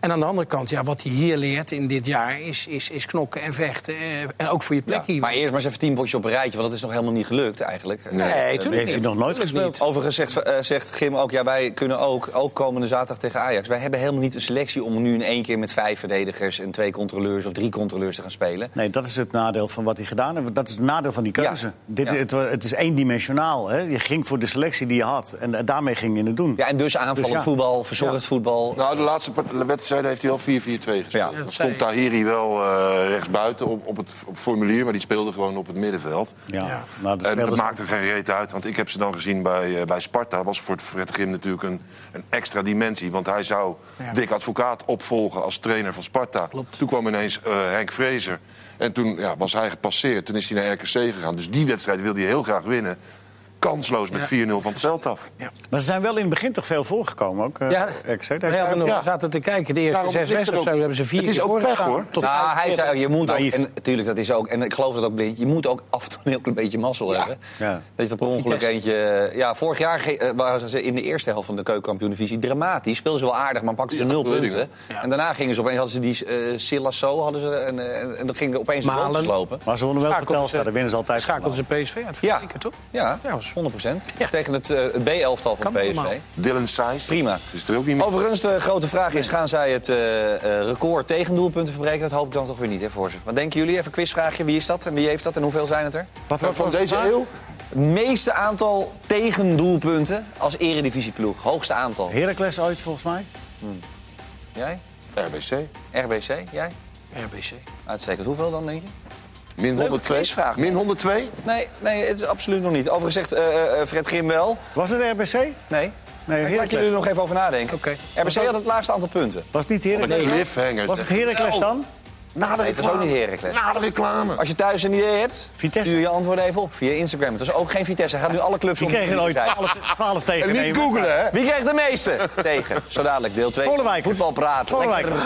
Speaker 4: En aan de andere kant, ja, wat hij hier leert in dit jaar... is, is, is knokken en vechten. eh, en ook voor je plek hier.
Speaker 1: Maar eerst maar eens even tien potjes op een rijtje, want dat is nog helemaal niet gelukt eigenlijk.
Speaker 4: nee,
Speaker 1: Eh,
Speaker 4: tuurlijk
Speaker 2: Heeft hij
Speaker 4: niet.
Speaker 2: nog nooit
Speaker 4: Tuurlijk
Speaker 2: gespeeld?
Speaker 4: niet.
Speaker 1: Overigens zegt, eh, zegt Gim ook, ja, wij kunnen ook, ook komende zaterdag tegen Ajax. Wij hebben helemaal niet een selectie om nu in één keer met vijf verdedigers en twee controleurs of drie controleurs te gaan spelen.
Speaker 2: Nee, dat is het nadeel van wat hij gedaan heeft. Dat is het nadeel van die keuze.
Speaker 1: Ja.
Speaker 2: Dit,
Speaker 1: Ja.
Speaker 2: Het, wa- het is eendimensionaal. Hè? Je ging voor de selectie die je had. En eh, daarmee ging je het doen.
Speaker 1: Ja, en dus aanvallend
Speaker 2: Dus ja.
Speaker 1: voetbal, verzorgd voetbal.
Speaker 3: Nou, de laatste part- wedstrijden heeft hij al 4-4-2 gespeeld.
Speaker 1: Ja.
Speaker 3: Dan
Speaker 4: Dat zei
Speaker 3: stond
Speaker 4: ik.
Speaker 3: Tahiri wel eh rechtsbuiten op, op het op formulier, maar die speelde gewoon op het middenveld.
Speaker 2: Ja.
Speaker 4: Ja.
Speaker 2: Nou, dat
Speaker 3: En Eh, dat
Speaker 2: speelde-
Speaker 3: maakt er geen reet uit, want ik heb ze dan gezien bij, eh, bij Sparta. was voor het Fred Grim natuurlijk een, een extra dimensie. Want hij zou
Speaker 4: Ja.
Speaker 3: Dick Advocaat opvolgen als trainer van Sparta.
Speaker 4: Klopt.
Speaker 3: Toen kwam ineens eh, Henk Vrezer. En toen ja, was hij gepasseerd. Toen is hij naar RKC gegaan. Dus die wedstrijd wilde hij heel graag winnen. Kansloos met 4-0 van het veld af.
Speaker 2: Maar ze zijn wel in het begin toch veel voorgekomen ook. eh,
Speaker 4: Ja,
Speaker 2: RKC. Daar-
Speaker 4: we hebben nog
Speaker 3: Ja.
Speaker 4: zaten te kijken. De eerste
Speaker 3: Daarom
Speaker 4: zes
Speaker 3: ligt het
Speaker 4: wedstrijden of
Speaker 3: ook-
Speaker 4: zo hebben ze vier
Speaker 3: het is
Speaker 4: keer
Speaker 3: ook pech,
Speaker 4: voorgegaan.
Speaker 3: hoor.
Speaker 4: Tot
Speaker 1: nou, hij
Speaker 4: 45.
Speaker 1: zei, je moet ook,
Speaker 2: Naïef.
Speaker 1: en natuurlijk, dat is ook, en ik geloof dat ook blind, je moet ook af en toe een heel klein beetje mazzel hebben.
Speaker 2: Ja.
Speaker 1: Dat je er per ongeluk
Speaker 4: Vitesse.
Speaker 1: eentje... Ja, vorig jaar ge- eh, waren ze in de eerste helft van de keukenkampioen-divisie dramatisch. Speelden ze wel aardig, maar pakten ze nul
Speaker 3: dat weet ik
Speaker 1: punten. En daarna gingen ze opeens, hadden ze die eh Silasso, hadden ze, en, eh, en, en dan gingen opeens de
Speaker 4: Malen.
Speaker 1: goals lopen.
Speaker 2: Maar ze wonnen wel
Speaker 4: Schakelden
Speaker 2: verteld.
Speaker 4: ze-
Speaker 2: Daar winnen ze altijd. van.
Speaker 4: Schakelden ze PSV aan het
Speaker 1: Ja.
Speaker 4: verkeken, toch?
Speaker 1: Ja,
Speaker 4: Ja,
Speaker 1: 100
Speaker 4: Ja.
Speaker 1: Tegen het, eh, het B-elftal van
Speaker 4: Kan allemaal.
Speaker 1: PSV.
Speaker 3: Dylan Seijs.
Speaker 1: Prima.
Speaker 3: Is er ook niet meer.
Speaker 1: Overigens, de grote vraag is, gaan zij het eh, eh, record tegendoelpunten verbreken? Dat hoop ik dan toch weer niet hè, voor ze. Wat denken jullie? Even een quizvraagje. Wie is dat en wie heeft dat en hoeveel zijn het er?
Speaker 2: Wat
Speaker 3: Van,
Speaker 2: was het
Speaker 3: deze
Speaker 2: vandaag?
Speaker 3: eeuw?
Speaker 1: Het meeste aantal tegendoelpunten als eredivisieploeg. Hoogste aantal.
Speaker 2: Heracles ooit volgens mij.
Speaker 1: Jij?
Speaker 3: RBC.
Speaker 1: RBC? Jij?
Speaker 4: RBC.
Speaker 1: Uitstekend. Hoeveel dan, denk je?
Speaker 3: Min
Speaker 1: Leuke
Speaker 3: 102.
Speaker 1: quizvraag, man.
Speaker 3: Min 102?
Speaker 1: Nee, nee, het is absoluut nog niet. Overigens zegt eh, eh, Fred Grim wel.
Speaker 2: Was het RBC?
Speaker 1: Nee.
Speaker 2: Nee,
Speaker 1: Ik laat jullie
Speaker 2: Heracles.
Speaker 1: er nog even over nadenken.
Speaker 4: Oké.
Speaker 1: RBC had het laagste aantal punten.
Speaker 2: Was het niet
Speaker 3: Oh,
Speaker 2: Heracles?
Speaker 3: Cliffhanger.
Speaker 2: Was het
Speaker 3: oh.
Speaker 2: Heracles dan?
Speaker 3: Na de
Speaker 1: Nee, het was ook niet Heracles.
Speaker 3: Na de reclame.
Speaker 1: Als je thuis een idee hebt,
Speaker 2: Vitesse.
Speaker 1: stuur je antwoorden even op via Instagram. Het is ook geen Vitesse. Gaat nu alle clubs
Speaker 2: Die
Speaker 1: om de
Speaker 2: kregen
Speaker 1: vloer
Speaker 2: ooit
Speaker 1: zijn.
Speaker 2: 12, 12 tegen
Speaker 3: En
Speaker 2: één.
Speaker 3: niet googelen, hè?
Speaker 1: Wie kreeg de meeste tegen? Zo dadelijk deel 2.
Speaker 2: Vollewijkers.
Speaker 1: Voetbal praten.
Speaker 2: Vollewijkers.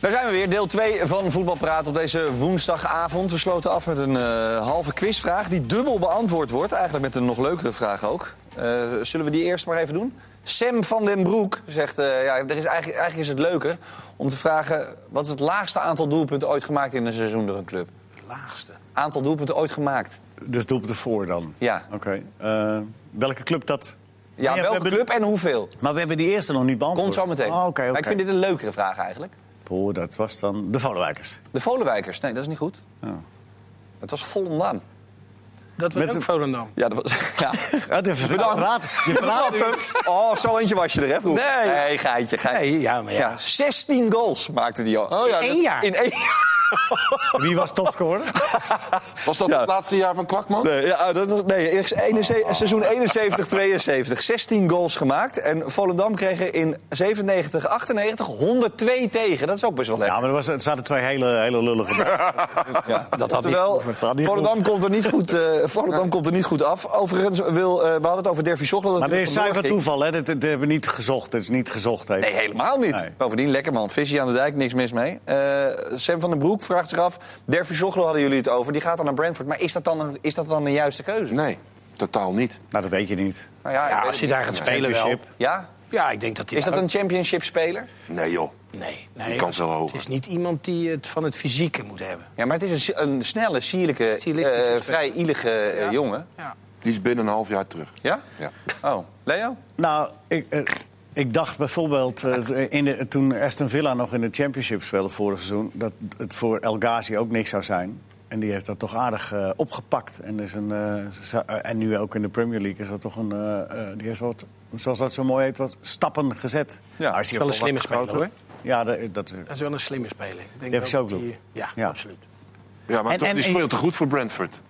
Speaker 1: Daar zijn we weer, deel 2 van Voetbalpraat op deze woensdagavond. We sloten af met een eh, halve quizvraag die dubbel beantwoord wordt. Eigenlijk met een nog leukere vraag ook. Eh, zullen we die eerst maar even doen? Sam van den Broek zegt, eh, ja, er is eigenlijk, eigenlijk is het leuker om te vragen... wat is het laagste aantal doelpunten ooit gemaakt in een seizoen door een club?
Speaker 4: Laagste.
Speaker 1: Aantal doelpunten ooit gemaakt.
Speaker 2: Dus doelpunt ervoor dan?
Speaker 1: Ja.
Speaker 2: Oké. Eh, welke club dat?
Speaker 1: Ja,
Speaker 2: we
Speaker 1: welke
Speaker 2: hebben-
Speaker 1: club en hoeveel?
Speaker 2: Maar we hebben die eerste nog niet
Speaker 1: Komt
Speaker 2: beantwoord.
Speaker 1: zo meteen.
Speaker 2: Oh, oké, oké.
Speaker 1: Maar ik vind dit een leukere vraag eigenlijk.
Speaker 2: Boah, dat was dan de Volenwijkers.
Speaker 1: De Volenwijkers, nee, dat is niet goed.
Speaker 2: Ja.
Speaker 1: Het was Volendam.
Speaker 4: Dat was
Speaker 2: Met
Speaker 4: ook
Speaker 2: de-
Speaker 4: Volendam.
Speaker 1: Ja, dat was... Ja.
Speaker 2: Ja, Eh, de
Speaker 1: Bedankt.
Speaker 2: Raad, je verraadt u.
Speaker 1: Oh, zo eentje was je er, hè? vroeger?
Speaker 4: Nee.
Speaker 1: Nee, geitje, geitje.
Speaker 4: Nee, ja, maar ja.
Speaker 1: 16 goals maakte die al.
Speaker 3: Oh ja,
Speaker 4: In
Speaker 3: dat-
Speaker 4: één jaar.
Speaker 1: In één
Speaker 2: Wie was topscorer?
Speaker 3: was dat
Speaker 1: Ja.
Speaker 3: het laatste jaar van Kwakman?
Speaker 1: Nee, ja, oh, dat was, nee eerst ene- se- seizoen 71, 72. 16 goals gemaakt. En Volendam kreeg er in 97, 98 102 tegen. Dat is ook best wel lekker.
Speaker 2: Ja, maar er, was, er zaten twee hele, hele lullige bij.
Speaker 1: Ja, dat
Speaker 2: had niet
Speaker 1: Terwijl
Speaker 2: gehoeven. Dat had niet
Speaker 1: Volendam komt, er niet goed, eh, Volendam komt er niet goed af. Overigens, wil, eh, we hadden het over Dervis Zochel.
Speaker 2: Maar dit is zuiver toeval, hè? Dit, dit hebben we niet gezocht. Dit is niet gezocht. Hè.
Speaker 1: Nee, helemaal niet.
Speaker 2: Nee.
Speaker 1: Bovendien, lekker man. Visie aan de dijk, niks mis mee. Eh, Sam van den Broek vraagt zich af. Dervis Zochel hadden jullie het over. Die gaat dan naar Brentford. Maar is dat dan een, is dat dan een juiste keuze?
Speaker 3: Nee, totaal niet.
Speaker 2: Nou, dat weet je niet.
Speaker 1: Nou ja, ik
Speaker 4: Ja,
Speaker 1: weet
Speaker 4: als
Speaker 1: het
Speaker 4: hij daar gaat spelen wel.
Speaker 2: Championship.
Speaker 1: niet. Ja?
Speaker 4: Ja, ik denk dat hij
Speaker 1: Is dat
Speaker 4: daar
Speaker 1: een championship speler?
Speaker 3: Nee joh.
Speaker 4: ook- Nee, nee
Speaker 3: kans wel hoger.
Speaker 4: Het is niet iemand die het van het fysieke moet hebben.
Speaker 1: Ja, maar het is een, si- een snelle, sierlijke,
Speaker 4: Stilistische
Speaker 1: eh,
Speaker 4: speler.
Speaker 1: vrij ielige eh, jongen.
Speaker 4: Ja.
Speaker 3: Die is binnen een half jaar terug.
Speaker 1: Ja?
Speaker 3: Ja.
Speaker 1: Oh, Leo?
Speaker 2: Nou, ik, eh, ik dacht bijvoorbeeld eh, in de, toen Aston Villa nog in de Championship speelde vorig seizoen... dat het voor El Ghazi ook niks zou zijn. En die heeft dat toch aardig eh, opgepakt. En, is een, eh, za- eh, en nu ook in de Premier League is dat toch een... eh, eh, die heeft wat, zoals dat zo mooi heet, wat stappen gezet.
Speaker 1: Ja,
Speaker 2: Hij is hier
Speaker 4: wel een
Speaker 2: ook al wat
Speaker 4: slimme speler,
Speaker 2: groter. Ja, dat, eh, dat,
Speaker 4: Dat is wel een slimme speler. Ik denk
Speaker 2: Davis
Speaker 4: ook
Speaker 2: ook
Speaker 4: dat
Speaker 2: doen.
Speaker 4: hij- Ja,
Speaker 2: Ja.
Speaker 4: absoluut.
Speaker 3: Ja, maar
Speaker 2: En-
Speaker 3: toch,
Speaker 2: en-
Speaker 3: die
Speaker 2: en-
Speaker 3: speelt te goed voor Brentford.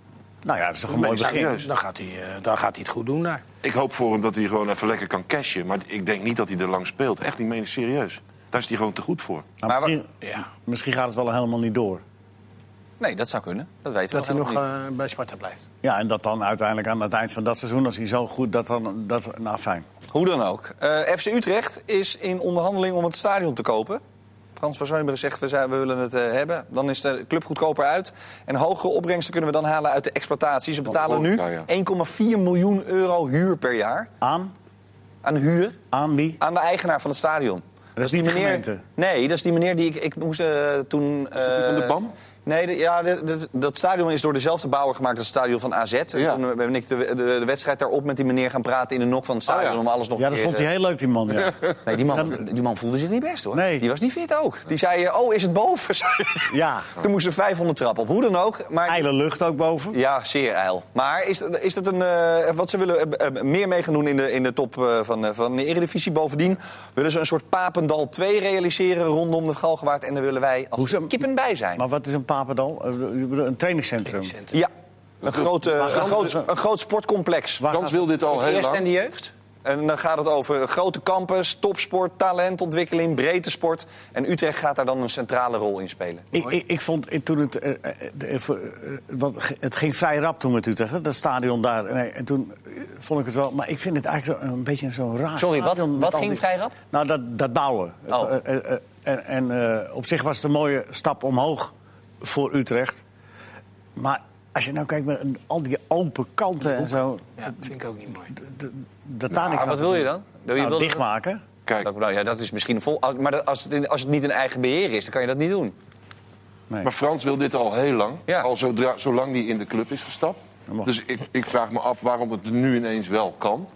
Speaker 2: Nou ja, dat is toch een mooi
Speaker 3: meen ik
Speaker 2: begin.
Speaker 3: serieus.
Speaker 4: Dan gaat hij, eh, dan gaat hij het goed doen daar.
Speaker 3: Ik hoop voor hem dat hij gewoon even lekker kan cashen. Maar ik denk niet dat hij er lang speelt. Echt niet, meen ik serieus. Daar is hij gewoon te goed voor.
Speaker 2: Nou,
Speaker 1: Maar wa-
Speaker 2: misschien,
Speaker 4: Ja.
Speaker 2: misschien gaat het wel helemaal niet door.
Speaker 1: Nee, dat zou kunnen. Dat weten
Speaker 4: Dat
Speaker 1: we
Speaker 4: hij nog
Speaker 1: helemaal
Speaker 4: eh, bij Sparta blijft.
Speaker 2: Ja, en dat dan uiteindelijk aan het eind van dat seizoen, als hij zo goed dat dan. Dat, nou, fijn.
Speaker 1: niet. Hoe dan ook. Eh, FC Utrecht is in onderhandeling om het stadion te kopen. Frans van Zuilenburg zegt, we, zijn, we willen het eh, hebben. Dan is de club goedkoper uit. En hogere opbrengsten kunnen we dan halen uit de exploitatie. Ze betalen nu
Speaker 3: horeca, nou ja.
Speaker 1: 1,4 miljoen euro huur per jaar.
Speaker 2: Aan?
Speaker 1: Aan huur
Speaker 2: Aan wie?
Speaker 1: aan de eigenaar van het stadion.
Speaker 2: Dat is niet de gemeente.
Speaker 1: Nee, dat is die meneer die ik, ik moest eh, toen... Is
Speaker 3: dat die van de BAM?
Speaker 1: Nee, de- ja, de- de- dat stadion is door dezelfde bouwer gemaakt als het stadion van AZ. En
Speaker 3: Ja.
Speaker 1: Toen ben ik de, de, de wedstrijd daarop met die meneer gaan praten in de nok van het stadion...
Speaker 3: Oh, ja.
Speaker 1: om alles nog
Speaker 2: Ja,
Speaker 1: een
Speaker 2: dat
Speaker 1: keer,
Speaker 2: vond hij
Speaker 1: eh,
Speaker 2: heel leuk, die man. Ja,
Speaker 1: Nee, die man, die man voelde zich niet best, hoor.
Speaker 2: Nee.
Speaker 1: Die was niet fit ook. Die zei, eh, oh, is het boven?
Speaker 2: ja.
Speaker 1: toen moesten 500 trap op, hoe dan ook. Maar
Speaker 2: Eile lucht ook boven.
Speaker 1: ja, zeer eil. Maar is, dat- is dat een. eh, wat ze willen eh, eh, meer mee gaan doen in de, in de top eh, van, eh, van de Eredivisie. Bovendien willen ze een soort Papendal 2 realiseren rondom de Galgenwaard. En daar willen wij als
Speaker 2: Hoezo?
Speaker 1: kippen bij zijn.
Speaker 2: Maar wat is een Papendal? Eh, je bedoelt Een trainingscentrum.
Speaker 1: Ja. Een, grote, een, groot, een groot sportcomplex.
Speaker 2: Waar
Speaker 3: Kans
Speaker 2: gaat-
Speaker 3: wil dit al heel
Speaker 4: Eerst
Speaker 3: lang.
Speaker 4: en de jeugd.
Speaker 1: En dan gaat het over grote campus, topsport, talentontwikkeling, breedte sport. En Utrecht gaat daar dan een centrale rol in spelen.
Speaker 2: Ik, ik, ik vond ik- toen het. eh, eh, de- eh, voor- eh, want ge- het ging vrij rap toen met Utrecht, hè, dat stadion daar. Nee, en toen eh, vond ik het wel. Maar ik vind het eigenlijk zo, een beetje zo'n raar.
Speaker 1: Sorry, wat-
Speaker 2: stadion met
Speaker 1: wat
Speaker 2: al
Speaker 1: ging
Speaker 2: die-
Speaker 1: vrij rap?
Speaker 2: Nou, dat, dat bouwen. Het,
Speaker 1: Oh.
Speaker 2: eh, eh, eh, en en eh, op zich was het een mooie stap omhoog voor Utrecht. Maar als je nou kijkt naar al die open kanten en zo.
Speaker 4: Ja, dat vind ik ook niet mooi.
Speaker 2: d- d- Dat daar niks
Speaker 1: Maar
Speaker 2: aan
Speaker 1: Nou, wat
Speaker 2: te
Speaker 1: wil je
Speaker 2: doen.
Speaker 1: dan? Wil je-
Speaker 2: Nou,
Speaker 1: wil je-
Speaker 2: dichtmaken.
Speaker 3: Kijk,
Speaker 1: Dat- Nou ja, dat is misschien een vol. als- Maar dat- als het, in- als het niet in eigen beheer is, dan kan je dat niet doen.
Speaker 3: maar Frans wil dit al heel lang.
Speaker 1: Ja.
Speaker 3: Al zodra, zolang hij in de club is gestapt.
Speaker 2: mag.
Speaker 3: Dus ik, ik vraag me af waarom het nu ineens wel kan.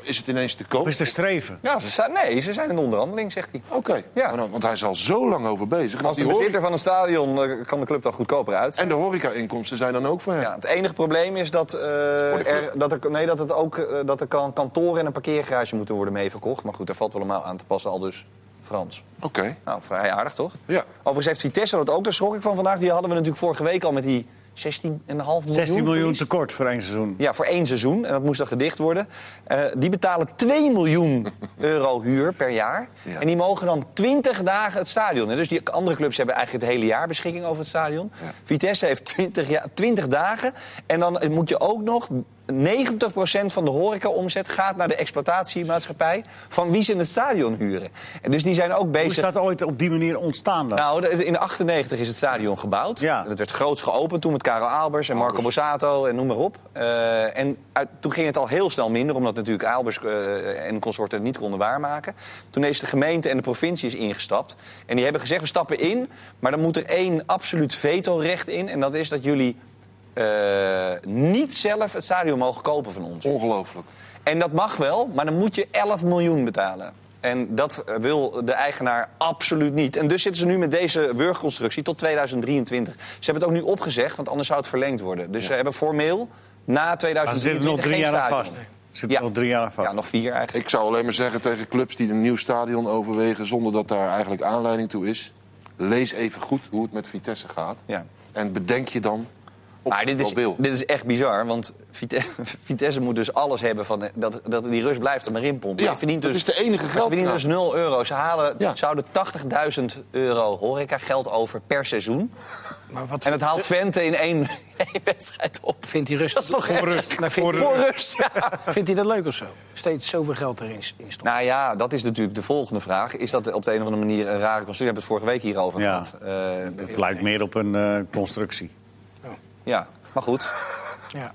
Speaker 3: Is het ineens te koop?
Speaker 2: Of is er streven?
Speaker 1: Ja, ze zijn, nee, ze zijn in onderhandeling, zegt hij.
Speaker 3: Oké,
Speaker 1: Ja.
Speaker 3: Maar dan- want hij is al zo lang over bezig. En
Speaker 1: Als
Speaker 3: die
Speaker 1: de
Speaker 3: horeca-
Speaker 1: bezitter van een stadion eh, kan de club dan goedkoper uit.
Speaker 3: En de horeca-inkomsten zijn dan ook voor hem.
Speaker 1: Ja, het enige probleem is dat, eh, er, dat, er, nee, dat, het ook, eh, dat er kan kantoren en een parkeergarage moeten worden meeverkocht. Maar goed, daar valt wel allemaal aan te passen, al dus Frans.
Speaker 3: Oké.
Speaker 1: Nou, vrij aardig toch?
Speaker 3: Ja.
Speaker 1: Overigens heeft Vitesse dat ook, daar schrok ik van vandaag. Die hadden we natuurlijk vorige week al met die 16,5 miljoen.
Speaker 2: 16 miljoen
Speaker 1: verlies.
Speaker 2: tekort voor één seizoen.
Speaker 1: Ja, voor één seizoen. En dat moest dan gedicht worden. Eh, die betalen 2 miljoen euro huur per jaar.
Speaker 3: Ja.
Speaker 1: En die mogen dan 20 dagen het stadion. in. Dus die andere clubs hebben eigenlijk het hele jaar beschikking over het stadion. Vitesse heeft 20, ja, 20 dagen. En dan moet je ook nog... 90% van de horecaomzet gaat naar de exploitatiemaatschappij... van wie ze het stadion huren. En dus die zijn ook
Speaker 2: Hoe is
Speaker 1: bezig...
Speaker 2: dat ooit op die manier ontstaan dan?
Speaker 1: Nou, de- in 98 is het stadion gebouwd.
Speaker 2: Ja.
Speaker 1: Dat werd groots geopend toen met Karel Albers en Marco Borsato en noem maar op. Eh, en uit- toen ging het al heel snel minder, omdat natuurlijk Albers eh, en consorten het niet konden waarmaken. Toen is de gemeente en de provincie is ingestapt. En die hebben gezegd, we stappen in, maar dan moet er één absoluut vetorecht in. En dat is dat jullie eh, niet zelf het stadion mogen kopen van ons.
Speaker 3: Ongelooflijk.
Speaker 1: En dat mag wel, maar dan moet je 11 miljoen betalen. En dat eh, wil de eigenaar absoluut niet. En dus zitten ze nu met deze wurgconstructie tot 2023. Ze hebben het ook nu opgezegd, want anders zou het verlengd worden. Dus ze hebben formeel na
Speaker 2: Maar ze zitten
Speaker 1: 2023
Speaker 2: nog drie
Speaker 1: geen
Speaker 2: jaar aan
Speaker 1: stadion.
Speaker 2: vast. Ze zitten
Speaker 1: Ja.
Speaker 2: nog drie jaar aan vast.
Speaker 1: Ja, nog vier eigenlijk.
Speaker 3: Ik zou alleen maar zeggen tegen clubs die een nieuw stadion overwegen... zonder dat daar eigenlijk aanleiding toe is... lees even goed hoe het met Vitesse gaat.
Speaker 1: Ja.
Speaker 3: En bedenk je dan op
Speaker 1: Maar dit is,
Speaker 3: wat wil.
Speaker 1: dit is echt bizar, want Vite- Vitesse moet dus alles hebben van... eh, dat, dat die rust blijft er maar in pompen.
Speaker 3: Ja,
Speaker 1: Je verdient
Speaker 3: dat
Speaker 1: dus-
Speaker 3: is de enige
Speaker 1: maar Ze
Speaker 3: geldkraan.
Speaker 1: verdienen dus 0 euro. Ze halen,
Speaker 3: Ja.
Speaker 1: zouden 80.000 euro horeca geld over per seizoen.
Speaker 4: Maar wat
Speaker 1: En dat haalt Twente in één, één wedstrijd op.
Speaker 4: vindt hij
Speaker 1: Dat is
Speaker 4: rustig?
Speaker 1: toch erg?
Speaker 4: Maar
Speaker 1: Voor
Speaker 4: vindt,
Speaker 1: rust, ja.
Speaker 4: vindt hij dat leuk of zo? Steeds zoveel geld erin s- in stoppen.
Speaker 1: Nou ja, dat is natuurlijk de volgende vraag. Is dat op de een of andere manier een rare constructie? We hebben het vorige week hierover
Speaker 2: Ja.
Speaker 1: gehad. Eh,
Speaker 2: Het lijkt meer op een eh, constructie.
Speaker 1: ja, maar goed. Nou.
Speaker 4: Ja.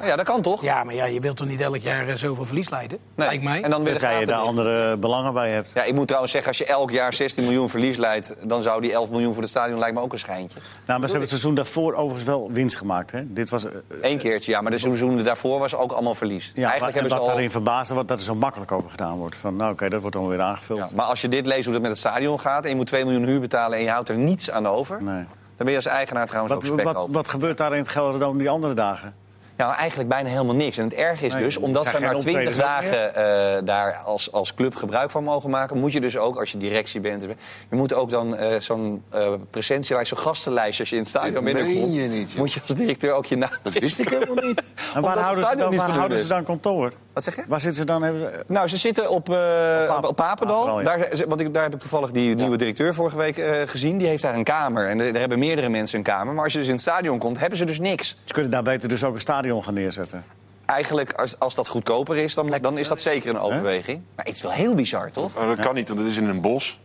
Speaker 4: Ja.
Speaker 1: Ja, dat kan toch?
Speaker 4: ja, maar ja, je wilt toch niet elk jaar eh, zoveel verlies leiden?
Speaker 1: Nee.
Speaker 4: Lijkt mij.
Speaker 1: En dan weer de
Speaker 2: Tenzij je
Speaker 1: gaten
Speaker 2: daar
Speaker 1: dicht.
Speaker 2: andere belangen bij hebt. Nou,
Speaker 1: Ja, ik moet trouwens zeggen, als je elk jaar 16 miljoen verlies leidt... dan zou die 11 miljoen voor het stadion lijkt me ook een schijntje.
Speaker 2: Nou, maar ze hebben het seizoen daarvoor overigens wel winst gemaakt. Hè? Dit was, eh, eh,
Speaker 1: Eén keertje, ja, maar de seizoenen daarvoor was ook allemaal verlies.
Speaker 2: ja,
Speaker 1: Eigenlijk
Speaker 2: en
Speaker 1: hebben ze
Speaker 2: wat
Speaker 1: al...
Speaker 2: daarin verbazen, wat dat er zo makkelijk over gedaan wordt. Van, nou oké, dat wordt dan weer aangevuld.
Speaker 1: Ja, maar als je dit leest hoe dat met het stadion gaat... en je moet 2 miljoen huur betalen en je houdt er niets aan over...
Speaker 2: Nee.
Speaker 1: dan ben je als eigenaar trouwens
Speaker 2: Wat,
Speaker 1: ook spek
Speaker 2: wat,
Speaker 1: open.
Speaker 2: wat gebeurt daar in het Gelderdoom die andere dagen?
Speaker 1: Ja, Nou, eigenlijk bijna helemaal niks. En het erg is
Speaker 2: Nee,
Speaker 1: dus,
Speaker 2: je
Speaker 1: omdat
Speaker 2: krijgt
Speaker 1: zij maar
Speaker 2: geen
Speaker 1: 20
Speaker 2: optredens ook
Speaker 1: dagen eh, daar als, als club gebruik van mogen maken, moet je dus ook, als je directie bent, je moet ook dan eh, zo'n eh presentielijst, zo'n gastenlijst, als je in het stadion
Speaker 3: Dit meen
Speaker 1: binnenkomt,
Speaker 3: je niet, joh.
Speaker 1: moet je als directeur ook je naam.
Speaker 3: Dat wist ik helemaal niet.
Speaker 2: En
Speaker 1: Omdat
Speaker 2: waar
Speaker 1: het
Speaker 2: houden, ze
Speaker 1: stadion
Speaker 2: dan,
Speaker 1: niet
Speaker 2: waar
Speaker 1: van
Speaker 2: houden
Speaker 1: hun
Speaker 2: ze dan kantoor?
Speaker 1: Wat zeg je?
Speaker 2: Waar zitten ze dan? Hebben ze-
Speaker 1: Nou, ze zitten op, eh,
Speaker 2: Op
Speaker 1: op,
Speaker 2: Pap-
Speaker 1: Papendal.
Speaker 2: Papendal, ja.
Speaker 1: daar, want ik, daar heb ik toevallig die nieuwe directeur vorige week eh, gezien. Die heeft daar een kamer. En er, er hebben meerdere mensen een kamer. Maar als je dus in het stadion komt, hebben ze dus niks.
Speaker 2: Ze kunnen daar beter dus ook een stadion gaan neerzetten.
Speaker 1: Eigenlijk, als, als dat goedkoper is, dan, dan is dat zeker een overweging. Maar het is wel heel bizar, toch?
Speaker 3: Maar Nou, dat kan niet, want dat is in een bos.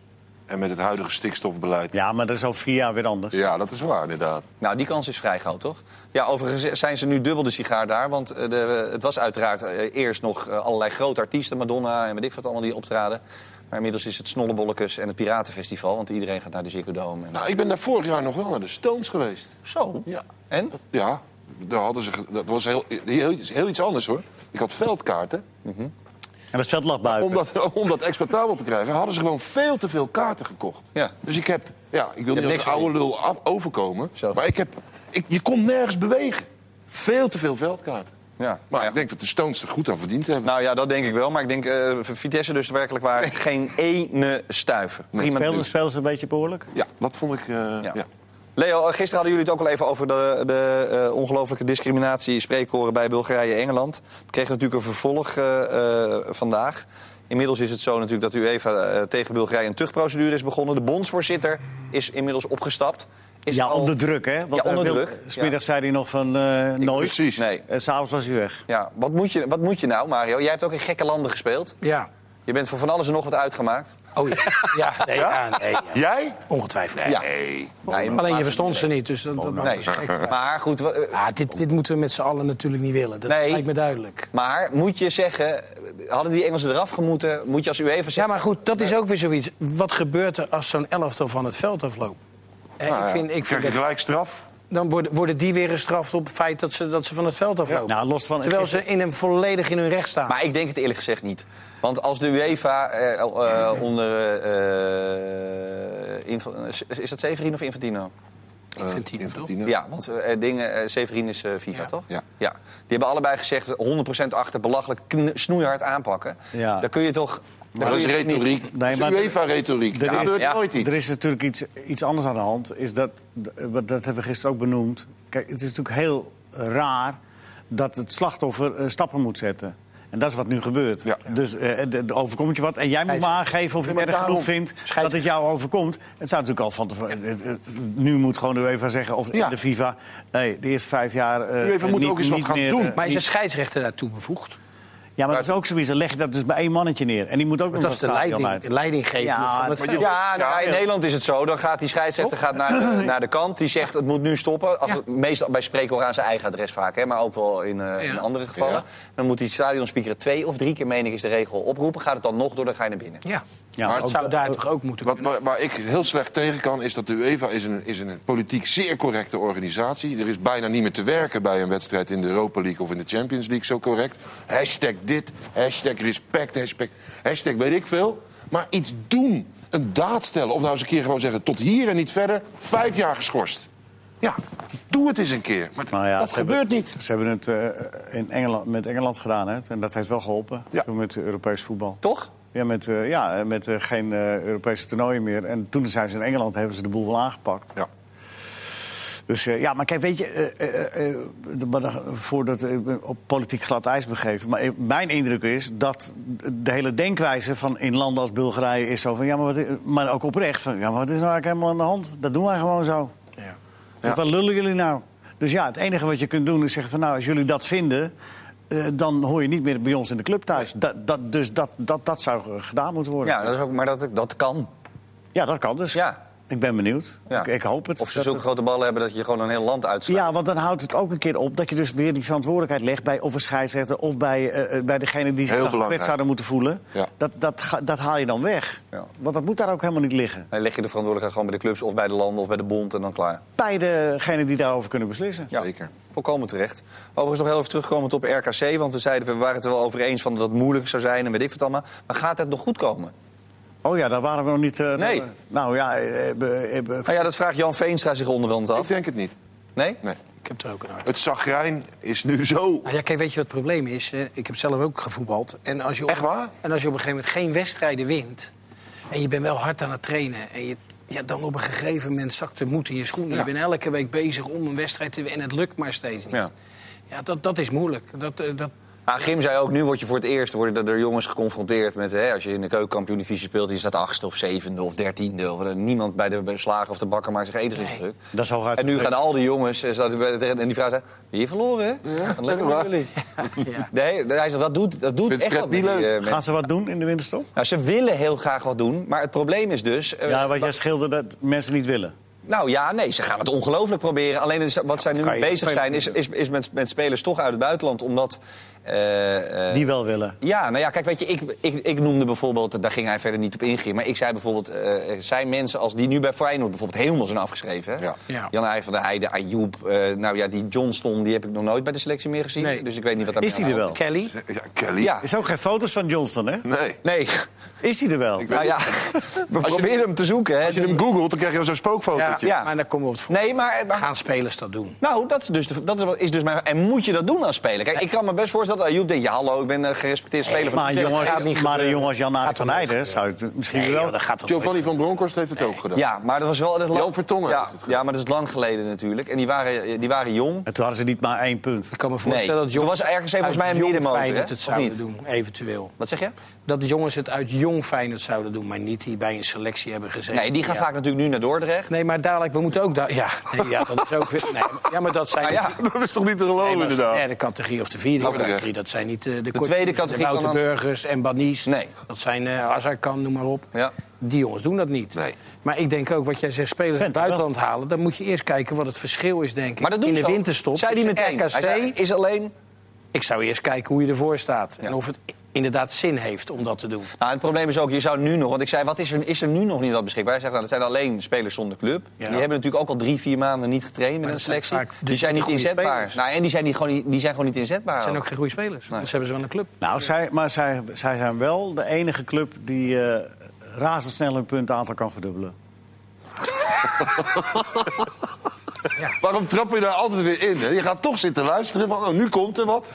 Speaker 3: En met het huidige stikstofbeleid. Ja,
Speaker 2: Ja, maar dat is over vier jaar weer anders.
Speaker 3: dat is waar, inderdaad.
Speaker 1: Nou, die kans is vrij groot, toch? Ja, overigens zijn ze nu dubbel de sigaar daar. Want eh, de, het was uiteraard eh, eerst nog eh, allerlei grote artiesten. Madonna en weet ik wat allemaal die optraden. Maar inmiddels is het Snollebollekes en het Piratenfestival. Want iedereen gaat naar de Ziggo Dome. En...
Speaker 3: Nou, ik ben daar vorig jaar nog wel naar de Stones geweest.
Speaker 1: Zo.
Speaker 3: Ja.
Speaker 1: En?
Speaker 3: Ja, daar hadden ze, ge- dat was heel, heel, iets- heel iets anders hoor. Ik had veldkaarten.
Speaker 2: En dat veld lag buiten.
Speaker 3: Om dat, om dat exploitabel te krijgen, hadden ze gewoon veel te veel kaarten gekocht.
Speaker 1: Ja.
Speaker 3: Dus ik heb, ja, ik wil niet als
Speaker 1: niks
Speaker 3: een oude lul af- overkomen.
Speaker 1: Zo.
Speaker 3: Maar ik heb, ik, je kon nergens bewegen. Veel te veel veldkaarten.
Speaker 1: Ja.
Speaker 3: Maar
Speaker 1: Ja.
Speaker 3: ik denk dat de Stones er goed aan verdiend hebben.
Speaker 1: Nou ja, dat denk ik wel. Maar ik denk eh, Vitesse dus werkelijk waar geen ene stuiver. Prima
Speaker 2: Speelden,
Speaker 1: nieuws.
Speaker 2: speelden ze een beetje behoorlijk?
Speaker 3: Ja, dat vond ik. eh, ja.
Speaker 1: Ja. Leo, eh, gisteren hadden jullie het ook al even over de, de eh, ongelofelijke discriminatie spreekkoren bij Bulgarije en Engeland. Het kreeg natuurlijk een vervolg eh, eh, vandaag. Inmiddels is het zo natuurlijk dat UEFA eh, tegen Bulgarije een tuchtprocedure is begonnen. De bondsvoorzitter is inmiddels opgestapt. Is
Speaker 2: Ja,
Speaker 1: het al-
Speaker 2: onder druk, hè?
Speaker 1: Ja, onder
Speaker 2: hij wil-
Speaker 1: druk, ja.
Speaker 2: Smiddags zei hij nog van eh, nooit.
Speaker 3: precies.
Speaker 1: Nee.
Speaker 2: En s'avonds was hij weg.
Speaker 1: Ja, wat moet, je, wat moet je nou, Mario? Jij hebt ook in gekke landen gespeeld.
Speaker 4: Ja.
Speaker 1: Je bent voor van alles en nog wat uitgemaakt.
Speaker 4: Oh ja. Ja, nee, ja? nee, ja.
Speaker 3: Jij?
Speaker 4: Ongetwijfeld.
Speaker 1: Ja.
Speaker 3: Nee.
Speaker 1: Nee, maar-
Speaker 4: Eh, Alleen je verstond ze niet, dus dat, dat
Speaker 1: Nee, maar goed, wa- eh,
Speaker 4: Ah, dit, dit moeten we met z'n allen natuurlijk niet willen. Dat
Speaker 1: Nee.
Speaker 4: lijkt me duidelijk.
Speaker 1: Maar moet je zeggen, hadden die Engelsen eraf gemoeten? Moet je als UEFA
Speaker 4: Ja,
Speaker 1: zeggen...
Speaker 4: maar goed, dat is ook weer zoiets. Wat gebeurt er als zo'n elftal van het veld afloopt? Eh,
Speaker 3: Nou
Speaker 4: ik
Speaker 3: ja,
Speaker 4: vind, ik
Speaker 3: krijg
Speaker 4: vind
Speaker 3: je
Speaker 4: dat-
Speaker 3: gelijk straf.
Speaker 4: dan worden, worden die weer gestraft op het feit dat ze, dat ze van het veld aflopen.
Speaker 2: Nou, los van-
Speaker 4: Terwijl ze in een, volledig in hun recht staan.
Speaker 1: Maar ik denk het eerlijk gezegd niet. Want als de UEFA eh, eh, onder... eh, eh, Infa- is dat Severin of Infantino?
Speaker 4: Infantino,
Speaker 3: Eh,
Speaker 4: toch?
Speaker 3: Infantino.
Speaker 1: Ja, want eh, dingen, eh, Severin is eh FIFA, toch?
Speaker 3: Ja.
Speaker 1: ja. Die hebben allebei gezegd 100% achter, belachelijk, kn- snoeihard aanpakken.
Speaker 2: Ja.
Speaker 1: Dan kun je toch...
Speaker 3: Maar dat is retoriek.
Speaker 2: Nee,
Speaker 3: dat
Speaker 2: maar-
Speaker 3: is UEFA-retoriek.
Speaker 2: Er
Speaker 3: Daar
Speaker 2: is-
Speaker 3: gebeurt
Speaker 1: ja,
Speaker 3: nooit iets.
Speaker 2: Er is natuurlijk iets, iets anders aan de hand. Is dat, d- wat- dat hebben we gisteren ook benoemd. Kijk, het is natuurlijk heel raar dat het slachtoffer eh, stappen moet zetten. En dat is wat nu gebeurt.
Speaker 3: Ja.
Speaker 2: Dus eh, de, de overkomt je wat. En jij moet maar aangeven of je
Speaker 3: Ja,
Speaker 2: het
Speaker 3: maar
Speaker 2: erg genoeg
Speaker 3: daarom-
Speaker 2: vindt dat het jou overkomt. Het zou natuurlijk al van tevoren... eh, eh, Nu moet gewoon de UEFA zeggen, of
Speaker 3: Ja.
Speaker 2: de FIFA... Nee, de eerste vijf jaar... eh,
Speaker 3: UEFA moet
Speaker 2: niet-
Speaker 3: ook eens wat
Speaker 2: niet
Speaker 3: gaan
Speaker 2: meer,
Speaker 3: doen.
Speaker 2: eh,
Speaker 4: Maar is
Speaker 2: niet-
Speaker 4: een scheidsrechter daartoe bevoegd?
Speaker 2: ja, maar dat is ook zoiets. Dan leg je dat dus bij één mannetje neer. En die moet ook nog
Speaker 4: Dat is de
Speaker 2: dat stadion uit.
Speaker 4: leiding, de leidinggevende
Speaker 2: Ja,
Speaker 4: van het
Speaker 2: maar
Speaker 4: veld.
Speaker 1: Ja, nou, in Nederland is het zo. Dan gaat die scheidsrechter gaat naar, de, naar de kant. Die zegt het moet nu stoppen. Als het, meestal bij spreekhoor aan zijn eigen adres vaak. Hè, maar ook wel in, eh, in andere gevallen.
Speaker 3: Ja.
Speaker 1: Dan moet die stadionspeaker twee of drie keer, meen ik, is de regel oproepen. Gaat het dan nog door, dan ga je naar binnen.
Speaker 4: Ja,
Speaker 2: Ja,
Speaker 4: maar het
Speaker 2: ook
Speaker 4: zou
Speaker 2: dat-
Speaker 4: daar toch ook moeten
Speaker 3: Wat,
Speaker 4: kunnen?
Speaker 3: waar, waar ik heel slecht tegen kan, is dat de UEFA is een, is een politiek zeer correcte organisatie. Er is bijna niet meer te werken bij een wedstrijd in de Europa League of in de Champions League, zo correct. Hashtag dit, hashtag respect, hashtag, hashtag weet ik veel. Maar iets doen, een daad stellen. Of nou eens een keer gewoon zeggen, tot hier en niet verder, vijf jaar geschorst. Ja, doe het eens een keer. Maar
Speaker 2: Nou ja,
Speaker 3: dat
Speaker 2: ze
Speaker 3: gebeurt
Speaker 2: hebben-
Speaker 3: niet.
Speaker 2: Ze hebben het eh, in Engeland, met Engeland gedaan, hè? en dat heeft wel geholpen.
Speaker 3: Ja.
Speaker 2: Toen met Europees voetbal.
Speaker 1: Toch?
Speaker 2: Ja, met, eh, ja, met eh, geen eh, Europese toernooien meer. En toen zijn ze in Engeland, hebben ze de boel wel aangepakt.
Speaker 3: Ja.
Speaker 2: Dus eh, ja, maar kijk, weet je, eh, eh, eh, de- maar dan- voordat ik me op politiek glad ijs begeven. Maar eh, mijn indruk is dat de hele denkwijze van in landen als Bulgarije is zo van ja, maar, wat, i- maar ook oprecht van ja, maar wat is nou eigenlijk helemaal aan de hand? Dat doen wij gewoon zo. Dus Wat lullen jullie nou? Dus ja, het enige wat je kunt doen is zeggen van nou, als jullie dat vinden. eh, dan hoor je niet meer bij ons in de club thuis. Dat, dat, dus dat, dat, dat zou eh, gedaan moeten worden. Ja,
Speaker 1: Ja, dat is ook, maar dat, dat kan.
Speaker 2: dat kan dus.
Speaker 1: Ja.
Speaker 2: Ik ben benieuwd.
Speaker 1: Ja.
Speaker 2: Ik, ik hoop het.
Speaker 1: Of ze
Speaker 2: dat
Speaker 1: zulke
Speaker 2: het-
Speaker 1: grote ballen hebben dat je gewoon een heel land uitsluit.
Speaker 2: ja, want dan houdt het ook een keer op dat je dus weer die verantwoordelijkheid legt bij of een scheidsrechter of bij, eh, eh, bij degene die zich
Speaker 3: Heel belangrijk.
Speaker 2: gepet zouden moeten voelen.
Speaker 3: Ja.
Speaker 2: Dat, dat, ga- dat haal je dan weg.
Speaker 1: Ja.
Speaker 2: Want dat moet daar ook helemaal niet liggen.
Speaker 1: Dan leg je de verantwoordelijkheid gewoon bij de clubs of bij de landen of bij de bond en dan klaar.
Speaker 2: Bij degene die daarover kunnen beslissen.
Speaker 1: Ja,
Speaker 3: Zeker.
Speaker 1: Volkomen terecht. Overigens nog heel even terugkomend op RKC. Want we zeiden, we waren het er wel over eens van dat het moeilijk zou zijn en weet ik wat allemaal. Maar gaat het nog goed komen?
Speaker 2: Oh ja, daar waren we nog niet. eh,
Speaker 1: Nee.
Speaker 2: nog- nou ja, eh, eh, eh, eh,
Speaker 1: Nou ja, dat vraagt Jan Veenstra zich onderhand
Speaker 3: Ik
Speaker 1: af.
Speaker 3: denk het niet.
Speaker 1: Nee?
Speaker 3: Nee.
Speaker 4: Ik heb er ook een hart.
Speaker 3: Het zagrijn is nu zo.
Speaker 4: Nou ja, kijk, weet je wat het probleem is? Eh, Ik heb zelf ook gevoetbald. En als je op,
Speaker 3: Echt waar?
Speaker 4: En als je op een gegeven moment geen wedstrijden wint... en je bent wel hard aan het trainen... en je, ja, dan op een gegeven moment zakt de moed in je schoenen.
Speaker 3: Ja.
Speaker 4: Je bent elke week bezig om een wedstrijd te winnen... en het lukt maar steeds niet.
Speaker 1: Ja.
Speaker 4: Ja, dat, dat is moeilijk. Dat, eh, dat,
Speaker 1: Ah, Grim zei ook, nu word je voor het eerst worden er jongens geconfronteerd met... Hè, als je in de keukenkampioen-divisie speelt, je staat achtste of zevende of dertiende. Of, eh, niemand bij de bij de slager of de bakker maakt zich enigszins druk.
Speaker 2: Dat is hooguit-
Speaker 1: En nu gaan al die jongens eh, zaten bij de- en die vrouw zei... Hier verloren, hè? Gaat lekker met jullie. Nee, hij zegt, dat doet, dat doet
Speaker 3: Vindt
Speaker 1: echt
Speaker 3: Fred
Speaker 1: wat
Speaker 3: niet
Speaker 1: met die,
Speaker 3: leuk?
Speaker 1: eh, mensen.
Speaker 2: Gaan ze wat doen in de winterstop?
Speaker 1: Nou, ze willen heel graag wat doen, maar het probleem is dus... eh,
Speaker 2: Ja, wat jij schilderde dat mensen niet willen.
Speaker 1: Nou ja, nee, ze gaan het ongelooflijk proberen. Alleen is- wat zij nu
Speaker 4: kan
Speaker 1: mee
Speaker 4: je-
Speaker 1: bezig
Speaker 4: kan je
Speaker 1: zijn, is, is, is met, met spelers toch uit het buitenland. Omdat. eh, eh,
Speaker 2: Die wel willen.
Speaker 1: ja, nou ja, kijk, weet je, ik, ik, ik noemde bijvoorbeeld, daar ging hij verder niet op ingehen. Maar ik zei bijvoorbeeld, eh, er zijn mensen als die nu bij Feyenoord bijvoorbeeld helemaal zijn afgeschreven. Hè?
Speaker 3: Ja.
Speaker 4: Ja.
Speaker 1: Jan Heij van der Heijden, Ayoub, eh, nou ja, die Johnston, die heb ik nog nooit bij de selectie meer gezien.
Speaker 4: Nee.
Speaker 1: Dus ik weet niet wat daar
Speaker 2: Is
Speaker 1: mee
Speaker 2: die er
Speaker 1: aan de
Speaker 2: wel?
Speaker 4: Kelly?
Speaker 3: Ja, Kelly.
Speaker 1: hand- Ja,
Speaker 2: Is ook geen foto's van Johnston, hè?
Speaker 3: Nee.
Speaker 1: nee,
Speaker 2: Is die er wel?
Speaker 1: nou ja, we proberen hem te zoeken. Hè.
Speaker 3: Als je hem googelt, dan krijg je zo'n
Speaker 4: Ja,
Speaker 3: spookfotootje.
Speaker 1: Ja.
Speaker 4: maar dan komen we op het
Speaker 1: Nee, maar, maar
Speaker 4: Gaan spelers dat doen?
Speaker 1: Nou, dat is dus, de- dat is, wat- is dus mijn... En moet je dat doen als speler? Kijk, ik kan me best voorstellen dat Ayoub denkt... Ja, hallo, ik ben een gerespecteerd speler van
Speaker 2: Maar een
Speaker 1: Utrecht,
Speaker 2: jongen,
Speaker 1: dat gaat niet
Speaker 2: maar een
Speaker 1: gebeuren.
Speaker 2: jongen als Jan Arie
Speaker 4: Gaat
Speaker 2: van
Speaker 4: er nooit
Speaker 2: Heijden zou het misschien
Speaker 4: Nee,
Speaker 2: wel...
Speaker 4: joh, dat gaat toch nooit
Speaker 3: Giovanni van Bronckhorst heeft het ook gedaan.
Speaker 1: Ja, maar dat was wel... Dat
Speaker 3: Jan Vertongen
Speaker 1: Ja,
Speaker 3: heeft het gedaan.
Speaker 1: ja, maar dat is lang geleden natuurlijk. En die waren, die waren jong.
Speaker 2: En toen hadden ze niet maar één punt.
Speaker 4: Ik kan me
Speaker 1: Nee,
Speaker 4: voorstellen
Speaker 1: dat
Speaker 4: dat jong,
Speaker 1: was ergens even volgens mij een
Speaker 4: uit jong
Speaker 1: middenmotor, hè?
Speaker 4: Feyenoord het
Speaker 1: Of
Speaker 4: zouden
Speaker 1: niet?
Speaker 4: doen, eventueel.
Speaker 1: Wat zeg je?
Speaker 4: Dat de jongens het uit jong Feyenoord zouden doen, maar niet die bij een selectie hebben gezeten.
Speaker 1: Nee, die gaan
Speaker 4: Ja.
Speaker 1: vaak natuurlijk nu naar Dordrecht.
Speaker 4: Nee, maar dadelijk, we moeten ook... da- ja, nee, ja, dat is ook weer... Nee, maar- ja, maar dat zijn...
Speaker 1: Ah, ja,
Speaker 3: Dat is toch niet te geloven,
Speaker 1: Oh,
Speaker 4: Nee, maar dat is de
Speaker 3: inderdaad?
Speaker 4: derde categorie of de vierde
Speaker 3: Dordrecht.
Speaker 4: categorie. Dat zijn niet eh, de, de
Speaker 1: tweede categorie
Speaker 4: De Wouter
Speaker 1: kan dan-
Speaker 4: Burgers en Banies.
Speaker 1: Nee.
Speaker 4: Dat zijn eh Azarkan, noem maar op.
Speaker 1: Ja.
Speaker 4: Die jongens doen dat niet.
Speaker 1: Nee.
Speaker 4: Maar ik denk ook, wat jij zegt, spelers uit het
Speaker 2: Vent,
Speaker 4: buitenland halen... dan moet je eerst kijken wat het verschil is, denk ik.
Speaker 1: Maar dat doen
Speaker 4: In
Speaker 1: ze
Speaker 4: de
Speaker 1: al.
Speaker 4: winterstop.
Speaker 1: Zei die
Speaker 4: tussen
Speaker 1: meteen.
Speaker 4: RKC
Speaker 1: Hij zei, is alleen...
Speaker 4: ik zou eerst kijken hoe je ervoor staat. En
Speaker 1: Ja.
Speaker 4: of het inderdaad zin heeft om dat te doen.
Speaker 1: Nou, het probleem is ook, je zou nu nog... Want ik zei, wat is er, is er nu nog niet wat beschikbaar? Hij zegt, nou, dat zijn alleen spelers zonder club.
Speaker 4: Ja.
Speaker 1: Die hebben natuurlijk ook al drie, vier maanden niet getraind met een
Speaker 4: dat zijn
Speaker 1: selectie. Dus
Speaker 4: vaak de-
Speaker 1: die zijn
Speaker 4: de
Speaker 1: niet
Speaker 4: goede
Speaker 1: inzetbaar.
Speaker 4: spelers.
Speaker 1: Nou, en die zijn, niet, gewoon, niet- die zijn gewoon niet inzetbaar.
Speaker 4: Het zijn
Speaker 1: ook.
Speaker 4: ook geen goede spelers. Anders hebben ze wel een club.
Speaker 2: Nou, zij, maar zij, zij zijn wel de enige club die eh, razendsnel hun puntaantal kan verdubbelen.
Speaker 3: Waarom trap je daar altijd weer in? Hè? Je gaat toch zitten luisteren van, oh, nu komt er wat.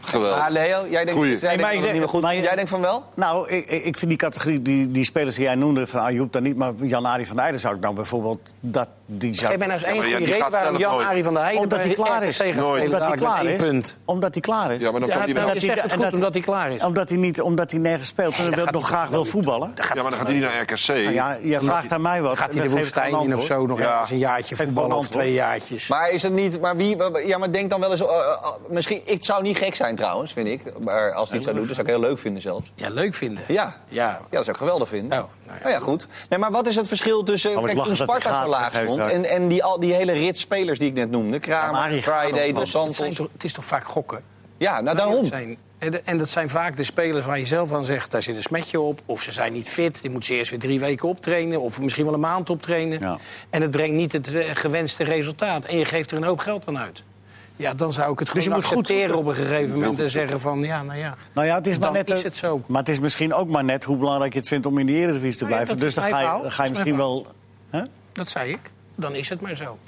Speaker 3: Geweldig.
Speaker 1: Ah, Leo, jij denkt,
Speaker 3: Goeie.
Speaker 1: jij
Speaker 3: Nee,
Speaker 1: denkt dat
Speaker 2: maar ik
Speaker 1: het
Speaker 2: denk-
Speaker 1: niet meer goed
Speaker 2: maar je-
Speaker 1: Jij denkt van wel?
Speaker 2: Nou, ik, ik ik vind die categorie, die, die spelers die jij noemde, van ah, Ayoub dan niet, maar Jan-Arie van Heijden zou ik dan bijvoorbeeld... Dat, die
Speaker 4: Geef
Speaker 2: zou,
Speaker 4: mij nou eens
Speaker 3: maar
Speaker 4: één
Speaker 3: ja,
Speaker 4: goede
Speaker 3: die gaat
Speaker 4: reden waarom
Speaker 3: zelf
Speaker 4: Jan-Arie van der Heijden...
Speaker 2: omdat
Speaker 4: bij
Speaker 2: hij klaar is.
Speaker 4: RKC gaat
Speaker 3: Nooit.
Speaker 4: spelen,
Speaker 2: Omdat hij
Speaker 4: dadelijk met
Speaker 2: klaar
Speaker 4: één
Speaker 2: is.
Speaker 4: punt.
Speaker 2: Omdat hij klaar is.
Speaker 3: Ja, maar dan
Speaker 4: Ja,
Speaker 3: komt hij
Speaker 4: nou,
Speaker 3: wel.
Speaker 4: je zegt het goed, omdat hij klaar is.
Speaker 2: Omdat hij, niet, omdat hij nergens speelt en
Speaker 4: dan
Speaker 2: wil
Speaker 4: gaat
Speaker 2: nog
Speaker 4: hij
Speaker 2: graag wil voetballen.
Speaker 4: Dan gaat
Speaker 3: Ja, maar dan gaat hij niet naar RKC.
Speaker 2: Nou ja, jij vraagt aan mij wat.
Speaker 4: Gaat
Speaker 2: en
Speaker 4: hij de
Speaker 2: dan geef ik
Speaker 4: woestijn
Speaker 2: een
Speaker 4: in of
Speaker 2: antwoord.
Speaker 4: zo nog
Speaker 3: Ja.
Speaker 4: eens een jaartje
Speaker 2: Geef ik
Speaker 4: voetballen
Speaker 2: een
Speaker 4: of twee jaartjes?
Speaker 1: Maar is het niet, maar wie, ja, maar denk dan wel eens, eh, eh, misschien, het zou niet gek zijn trouwens, vind ik. Maar als hij het zou doen, dat zou ik heel leuk vinden zelfs.
Speaker 4: Ja, leuk vinden.
Speaker 1: Ja,
Speaker 4: Ja.
Speaker 1: ja dat zou ik geweldig vinden.
Speaker 4: Oh, nou ja.
Speaker 1: Nou ja, goed. Nee, maar wat is het verschil tussen,
Speaker 2: Zal ik
Speaker 1: kijk, toen
Speaker 2: lachen dat die
Speaker 1: Sparta zo
Speaker 2: gaten
Speaker 1: laag
Speaker 2: geeft
Speaker 1: stond
Speaker 2: daar.
Speaker 1: en, en die, al, die hele rit spelers die ik net noemde,
Speaker 2: Ja,
Speaker 1: Kramer,
Speaker 2: maar die gaan
Speaker 1: Friday,
Speaker 2: ook wel.
Speaker 1: De
Speaker 4: Het, zijn
Speaker 1: Santos.
Speaker 4: toch, het is toch vaak gokken?
Speaker 1: Ja, nou daarom.
Speaker 4: Zijn, en, de- en dat zijn vaak de spelers waar je zelf aan zegt... daar zit een smetje op, of ze zijn niet fit... die moeten ze eerst weer drie weken optrainen... of misschien wel een maand optrainen.
Speaker 2: Ja.
Speaker 4: En het brengt niet het eh, gewenste resultaat. En je geeft er een hoop geld aan uit. Ja, dan zou ik het gewoon
Speaker 2: Dus je moet goed
Speaker 4: accepteren
Speaker 2: zoeken.
Speaker 4: op een gegeven moment... en zeggen van, ja, nou ja...
Speaker 2: Nou ja, het is
Speaker 4: Dan
Speaker 2: maar net.
Speaker 4: is het zo.
Speaker 2: Maar het is misschien ook maar net hoe belangrijk je het vindt om in de Eredivisie te
Speaker 4: Nou ja,
Speaker 2: blijven.
Speaker 4: dat
Speaker 2: dus
Speaker 4: is
Speaker 2: dan
Speaker 4: mijn
Speaker 2: ga je,
Speaker 4: verhaal.
Speaker 2: dan ga je
Speaker 4: Dat is
Speaker 2: misschien
Speaker 4: mijn
Speaker 2: wel. hè?
Speaker 4: Dat zei ik. Dan is het maar zo.
Speaker 1: Nou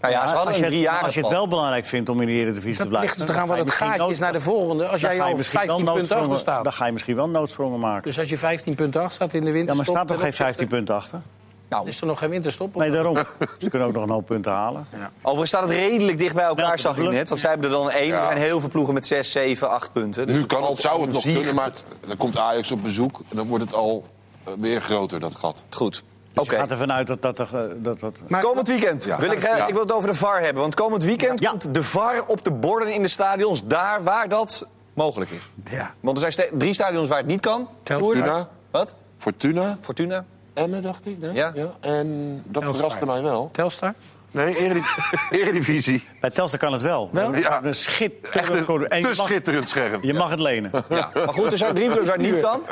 Speaker 1: ja, ze
Speaker 2: Maar
Speaker 1: hadden
Speaker 2: als,
Speaker 1: een
Speaker 2: je,
Speaker 1: drie
Speaker 2: het-
Speaker 1: jaar
Speaker 2: als je het wel belangrijk vindt om in de Eredivisie te
Speaker 4: Dat
Speaker 2: blijven.
Speaker 4: ligt er toch aan wat het
Speaker 2: ga je
Speaker 4: gaatje is
Speaker 2: misschien
Speaker 4: naar de volgende. Als
Speaker 2: nood-
Speaker 4: jij
Speaker 2: dan ga je
Speaker 4: al
Speaker 2: misschien wel
Speaker 4: 15 punten
Speaker 2: noodsprongen-
Speaker 4: achter
Speaker 2: Dan
Speaker 4: staat.
Speaker 2: ga je misschien wel noodsprongen maken.
Speaker 4: Dus als je 15 punten achter staat in de
Speaker 2: Ja, maar
Speaker 4: winterstop...
Speaker 2: staat toch
Speaker 4: ten
Speaker 2: geen
Speaker 4: opzichte-
Speaker 2: 15 punten achter?
Speaker 1: Nou,
Speaker 4: Is er nog geen winterstop?
Speaker 2: Nee, daarom. Ze kunnen ook nog een hoop punten halen.
Speaker 1: overigens staat het redelijk dicht bij elkaar,
Speaker 2: Welke
Speaker 1: zag ik
Speaker 2: bedoel ik?
Speaker 1: net. Want zij hebben er dan één
Speaker 3: Ja.
Speaker 1: en heel veel ploegen met zes, zeven, acht punten. Dus
Speaker 3: Nu kan het,
Speaker 1: valt
Speaker 3: zou
Speaker 1: om
Speaker 3: het nog
Speaker 1: zieg
Speaker 3: kunnen, maar het- dan komt Ajax op bezoek. en Dan wordt het al eh, weer groter, dat gat.
Speaker 1: Goed. Oké.
Speaker 2: Dus Je gaat ervan uit dat dat. er, eh, dat, dat...
Speaker 4: Maar-
Speaker 1: komend weekend.
Speaker 3: Ja.
Speaker 1: Wil ik, eh,
Speaker 3: Ja.
Speaker 1: ik wil het over de VAR hebben. Want komend weekend
Speaker 2: Ja.
Speaker 1: komt de VAR op de borden in de stadions. Daar waar dat mogelijk is.
Speaker 4: Ja.
Speaker 1: Want er zijn ste- drie stadions waar het niet kan.
Speaker 4: Telstar.
Speaker 3: Fortuna,
Speaker 1: Wat?
Speaker 3: Fortuna,
Speaker 1: Fortuna?
Speaker 3: Emmen, dacht ik. Hè?
Speaker 1: Ja.
Speaker 3: En dat
Speaker 4: Telstar.
Speaker 3: verraste mij wel.
Speaker 4: Telstar?
Speaker 3: Nee, Erediv- Eredivisie.
Speaker 2: Bij Telstar kan het wel.
Speaker 4: Wel?
Speaker 3: Ja.
Speaker 2: Een
Speaker 3: Echt
Speaker 2: schitterend.
Speaker 3: een
Speaker 2: en je
Speaker 3: te
Speaker 2: mag-
Speaker 3: schitterend scherm.
Speaker 2: Je mag het lenen.
Speaker 1: Ja. Maar goed, er zijn drie clubs waar het niet kan.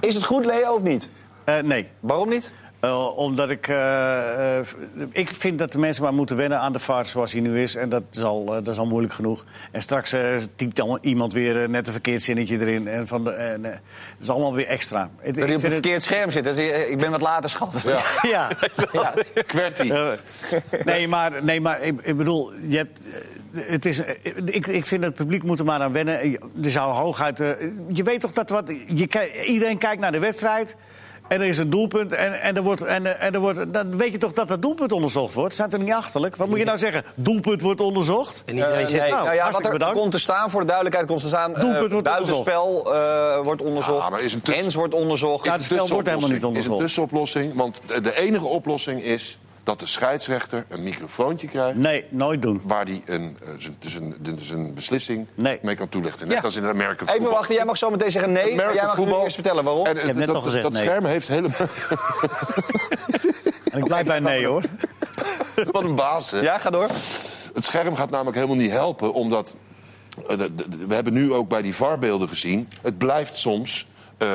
Speaker 1: Is het goed, Leo, of niet?
Speaker 2: Eh, nee.
Speaker 1: Waarom niet?
Speaker 2: Eh, omdat ik, eh, eh, ik vind dat de mensen maar moeten wennen aan de vaart zoals hij nu is. En dat is al, eh, dat is al moeilijk genoeg. En straks eh, typt dan iemand weer eh, net een verkeerd zinnetje erin. En van de, en, eh, dat is allemaal weer extra. Het-
Speaker 1: Dat
Speaker 2: ik
Speaker 1: hij op een
Speaker 2: vind het-
Speaker 1: verkeerd scherm zit. Dat is- eh, ik ben wat later schat.
Speaker 3: Ja,
Speaker 2: Ja.
Speaker 3: QWERTY.
Speaker 2: Eh, nee, maar, nee, maar ik, ik bedoel, je hebt, eh, het is, eh, ik, ik vind dat het publiek moet er maar aan wennen. Je- Er zou hooguit. eh, je weet toch dat wat. Je, ki- iedereen kijkt naar de wedstrijd. En er is een doelpunt. En, en, er wordt, en, eh, en er wordt, dan weet je toch dat dat doelpunt onderzocht wordt? Staat er niet achterlijk? Wat moet je nou zeggen? Doelpunt wordt onderzocht?
Speaker 4: En iedereen
Speaker 1: Eh,
Speaker 4: zegt,
Speaker 1: nee.
Speaker 2: nou,
Speaker 1: nou ja, wat
Speaker 2: hartstikke
Speaker 1: er
Speaker 2: bedankt.
Speaker 1: komt te staan, voor de duidelijkheid, komt te staan. eh,
Speaker 2: Doelpunt wordt
Speaker 1: buitenspel eh, wordt
Speaker 3: Ja,
Speaker 1: onderzocht.
Speaker 3: maar is een tussen-
Speaker 1: Hens wordt onderzocht.
Speaker 2: Ja, het spel wordt helemaal niet
Speaker 3: is een
Speaker 2: onderzocht.
Speaker 3: tussenoplossing. Want de- de enige oplossing is dat de scheidsrechter een microfoontje krijgt...
Speaker 2: Nee, nooit doen.
Speaker 3: waar hij een, eh, zijn- dus een, dus een beslissing
Speaker 2: Nee.
Speaker 3: mee kan toelichten. Net
Speaker 1: Ja.
Speaker 3: als in het American
Speaker 1: Even
Speaker 3: voetbal.
Speaker 1: wachten, jij mag zo meteen zeggen nee. maar Jij mag nu eerst vertellen waarom.
Speaker 3: En, eh,
Speaker 2: hebt net
Speaker 3: dat,
Speaker 2: al gezegd
Speaker 3: dat
Speaker 2: nee.
Speaker 3: scherm heeft helemaal...
Speaker 2: En ik blijf bij nee hoor.
Speaker 3: Wat een baas, hè?
Speaker 1: Ja, ga door.
Speaker 3: Het scherm gaat namelijk helemaal niet helpen, omdat... eh, de- de- de- We hebben nu ook bij die varbeelden gezien. Het blijft soms eh,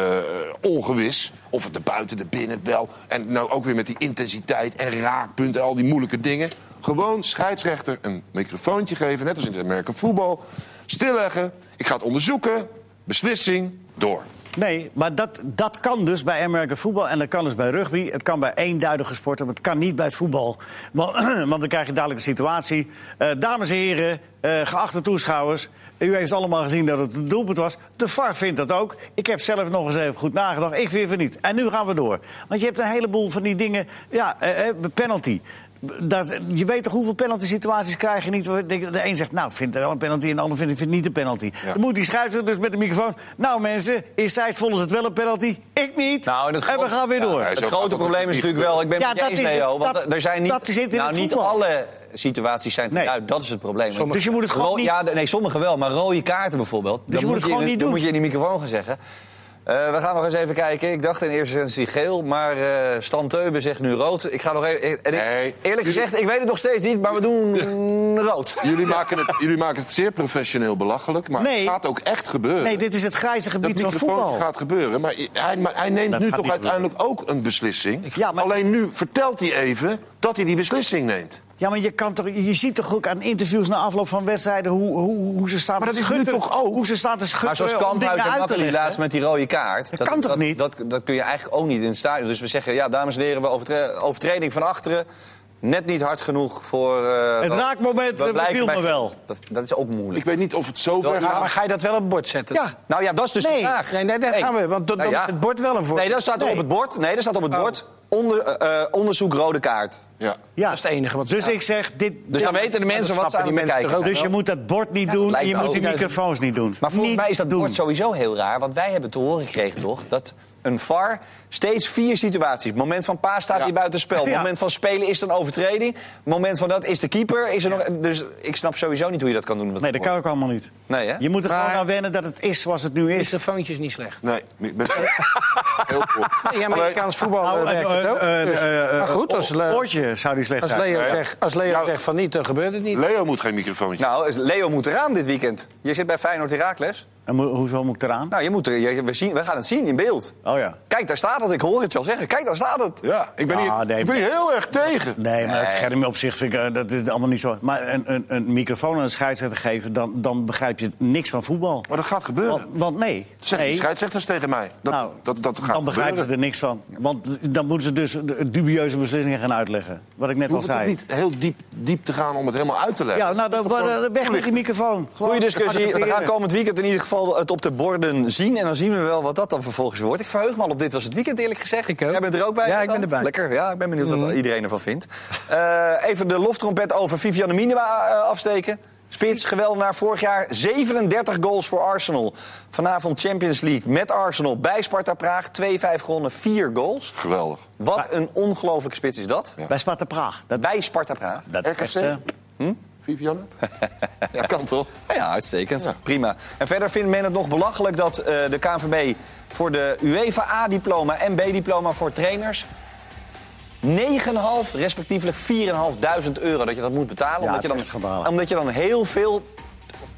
Speaker 3: ongewis of het er buiten, de binnen wel. En nou ook weer met die intensiteit en raakpunten en al die moeilijke dingen. Gewoon scheidsrechter een microfoontje geven, net als in het American voetbal. Stilleggen, ik ga het onderzoeken, beslissing, door.
Speaker 2: Nee, maar dat, dat kan dus bij American voetbal en dat kan dus bij rugby. Het kan bij eenduidige sporten, maar het kan niet bij voetbal. Want, want dan krijg je dadelijk een situatie. Eh, dames en heren, eh, geachte toeschouwers. U heeft allemaal gezien dat het een doelpunt was. De VAR vindt dat ook. Ik heb zelf nog eens even goed nagedacht. Ik vind van niet. En nu gaan we door. Want je hebt een heleboel van die dingen. Ja, eh, eh, penalty. Dat, je weet toch hoeveel penalty situaties krijg je niet? waar je denkt, De een zegt, nou, ik vind het wel een penalty. En de ander vindt, ik vind het niet een penalty. Dan moet die scheidsrechter dus met de microfoon... Nou mensen, in Zuid vonden ze het wel een penalty. Ik niet.
Speaker 1: Nou, en het
Speaker 2: en we
Speaker 1: gro-
Speaker 2: gaan weer
Speaker 1: Ja,
Speaker 2: door.
Speaker 3: hij
Speaker 1: Het
Speaker 3: is ook
Speaker 1: grote
Speaker 3: altijd
Speaker 1: probleem is
Speaker 3: een
Speaker 1: natuurlijk wel, ik ben
Speaker 2: Ja,
Speaker 1: het met je
Speaker 2: dat
Speaker 1: eens,
Speaker 2: is het.
Speaker 1: Leo, want
Speaker 2: Dat-
Speaker 1: er zijn niet,
Speaker 2: dat zit in
Speaker 1: nou,
Speaker 2: het
Speaker 1: niet
Speaker 2: voetbal.
Speaker 1: alle situaties zijn
Speaker 2: Nee.
Speaker 1: uit. Dat is het probleem.
Speaker 2: Sommige- Dus je moet het gewoon
Speaker 1: Ro-
Speaker 2: niet-
Speaker 1: Ja, de- nee, sommige wel, maar rode kaarten bijvoorbeeld. Dus
Speaker 2: je moet het gewoon niet
Speaker 1: Dan
Speaker 2: doen.
Speaker 1: moet je in die microfoon gaan zeggen. Eh, we gaan nog eens even kijken. Ik dacht in eerste instantie geel, maar eh Stan Teuben zegt nu rood. Ik ga nog even. En ik-
Speaker 3: Nee.
Speaker 1: Eerlijk gezegd, ik weet het nog steeds niet, maar we doen mm, rood.
Speaker 3: Jullie maken het, jullie maken het zeer professioneel belachelijk, maar
Speaker 2: Nee.
Speaker 3: het gaat ook echt gebeuren.
Speaker 2: Nee, dit is het grijze gebied
Speaker 3: dat
Speaker 2: van voetbal.
Speaker 3: microfoon gaat gebeuren. Maar hij, maar hij neemt
Speaker 2: Dat
Speaker 3: nu
Speaker 2: gaat
Speaker 3: toch
Speaker 2: niet
Speaker 3: uiteindelijk ook een beslissing.
Speaker 2: Ja, maar-
Speaker 3: Alleen nu vertelt hij even dat hij die beslissing neemt.
Speaker 2: Ja, maar je, kan toch, je ziet toch ook aan interviews na afloop van wedstrijden... hoe, hoe, hoe ze staan
Speaker 3: Maar
Speaker 2: te
Speaker 3: dat is nu
Speaker 2: schutteren-
Speaker 3: toch ook?
Speaker 2: Hoe ze staan te schutteren
Speaker 1: Maar zoals
Speaker 2: om dingen
Speaker 1: Kamphuis en
Speaker 2: uit te
Speaker 1: Makkeli
Speaker 2: leggen.
Speaker 1: laatst met die rode kaart. Dat,
Speaker 2: kan toch
Speaker 1: dat-
Speaker 2: niet?
Speaker 1: Dat, dat kun je eigenlijk ook niet in het stadion. Dus we zeggen, ja, dames en heren, we overtre- overtreding van achteren. Net niet hard genoeg voor... eh,
Speaker 2: Het
Speaker 1: dat-
Speaker 2: raakmoment,
Speaker 1: dat
Speaker 2: eh,
Speaker 1: blijkt
Speaker 2: beviel me
Speaker 1: bij-
Speaker 2: wel.
Speaker 1: Dat, dat is ook
Speaker 3: Ik
Speaker 1: moeilijk.
Speaker 3: weet niet of het zo ver
Speaker 1: Dat-
Speaker 4: Maar
Speaker 3: gaat.
Speaker 4: ga je dat wel op het bord zetten?
Speaker 2: Ja,
Speaker 1: Nou ja, dat is dus
Speaker 4: Nee,
Speaker 1: de vraag.
Speaker 4: nee, nee, daar gaan we, want dat-
Speaker 1: Nou
Speaker 4: dan
Speaker 1: ja.
Speaker 4: is het bord wel een voor-
Speaker 1: Nee, dat staat er
Speaker 4: Nee. Oh.
Speaker 1: op het bord. Nee, dat staat op het bord. Onder, eh, eh, onderzoek rode kaart.
Speaker 3: Ja.
Speaker 2: ja.
Speaker 4: Dat is het enige wat ze
Speaker 2: Dus
Speaker 4: gaan.
Speaker 2: ik zeg, dit...
Speaker 1: Dus dan weten de mensen wat ze aan
Speaker 4: snappen
Speaker 1: het
Speaker 4: die mensen
Speaker 1: bekijken.
Speaker 4: toch ook.
Speaker 1: zijn.
Speaker 2: Dus je moet dat bord niet doen en
Speaker 1: lijkt
Speaker 2: je
Speaker 1: me
Speaker 2: moet
Speaker 1: ook.
Speaker 2: die microfoons niet doen.
Speaker 1: Maar volgens
Speaker 2: Niet
Speaker 1: mij is dat
Speaker 2: doen.
Speaker 1: bord sowieso heel raar. Want wij hebben te horen gekregen toch dat een VAR steeds vier situaties. Moment van paas staat hij buitenspel.
Speaker 2: Ja.
Speaker 1: Moment van spelen is het een overtreding. Moment van dat is de keeper. Is er nog... Dus ik snap sowieso niet hoe je dat kan doen. met
Speaker 2: Nee,
Speaker 1: dat
Speaker 2: dat
Speaker 1: bord.
Speaker 2: kan ook allemaal niet.
Speaker 1: Nee, hè?
Speaker 2: Je moet er
Speaker 4: Maar-
Speaker 2: gewoon aan wennen dat het is zoals het nu is.
Speaker 4: Microfoontjes niet slecht.
Speaker 3: Nee, ik ben heel goed.
Speaker 4: Ja, Amerikaans voetbal eh,
Speaker 2: Nou,
Speaker 4: werkt
Speaker 2: eh,
Speaker 4: het ook.
Speaker 2: eh,
Speaker 4: Dus-
Speaker 2: eh, eh,
Speaker 4: maar goed, als, Le-
Speaker 2: Oortje zou die slecht
Speaker 4: als
Speaker 2: zijn.
Speaker 4: Leo,
Speaker 3: ja.
Speaker 4: zegt, als Leo
Speaker 3: Nou-
Speaker 4: zegt van niet, dan gebeurt het niet.
Speaker 3: Leo moet geen microfoontje.
Speaker 1: Nou, is- Leo moet eraan dit weekend. Je zit bij Feyenoord Herakles.
Speaker 2: En mo- hoezo moet ik eraan?
Speaker 1: Nou, je moet er, je- we, zien, we gaan het zien in beeld.
Speaker 2: Oh ja.
Speaker 1: Kijk, daar staat het. Ik hoor het je al zeggen. Kijk, daar staat het.
Speaker 3: Ja, ik ben,
Speaker 2: Ah,
Speaker 3: hier,
Speaker 2: nee.
Speaker 3: ik ben hier heel erg tegen.
Speaker 2: Nee, maar het scherm op zich vind ik, eh, dat is allemaal niet zo. Maar een, een, een microfoon aan een scheidsrechter geven, dan, dan begrijp je niks van voetbal.
Speaker 3: Maar dat gaat gebeuren.
Speaker 2: Want, want nee.
Speaker 3: Zeg
Speaker 2: Oh, nee.
Speaker 3: die scheidsrechters tegen mij. Dat,
Speaker 2: Nou,
Speaker 3: dat, dat gaat
Speaker 2: dan begrijpen
Speaker 3: gebeuren.
Speaker 2: ze er niks van. Want dan moeten ze dus de dubieuze beslissingen gaan uitleggen. Wat ik net
Speaker 3: Je
Speaker 2: al
Speaker 3: hoeft toch
Speaker 2: zei.
Speaker 3: niet heel diep, diep te gaan om het helemaal uit te leggen.
Speaker 2: Ja, nou, dan, dan- weg met die microfoon. Gewoon
Speaker 1: Goeie discussie. We gaan
Speaker 2: accepteren.
Speaker 1: komend weekend in ieder geval het op de borden zien. En dan zien we wel wat dat dan vervolgens wordt. Ik verheug me al op dit was het weekend, eerlijk gezegd.
Speaker 4: Ik ook.
Speaker 1: Jij bent er ook bij?
Speaker 4: Ja, ik ben
Speaker 1: dan?
Speaker 4: erbij. Mm.
Speaker 1: Lekker. Ja, ik ben benieuwd wat iedereen ervan vindt. Eh, even de loftrompet over Viviane Minima eh, afsteken. Spits, geweld naar vorig jaar. 37 goals voor Arsenal. Vanavond Champions League met Arsenal bij Sparta Praag. 2-5 gewonnen, 4 goals.
Speaker 3: Geweldig.
Speaker 1: Wat een ongelofelijke spits is dat.
Speaker 2: Bij Sparta Praag. Dat,
Speaker 1: Bij Sparta Praag.
Speaker 2: dat is
Speaker 3: RKC?
Speaker 2: echt, eh,
Speaker 3: Vivianne? ja, kan toch?
Speaker 1: Nou Ja, uitstekend.
Speaker 3: Ja.
Speaker 1: Prima. En verder vindt men het nog belachelijk dat eh, de KNVB voor de UEFA A-diploma en B-diploma voor trainers... 9,5 respectievelijk 4.500 euro dat je dat moet betalen.
Speaker 2: Ja,
Speaker 1: omdat, je
Speaker 2: het is echt
Speaker 1: dan,
Speaker 2: schandalig.
Speaker 1: omdat je dan heel veel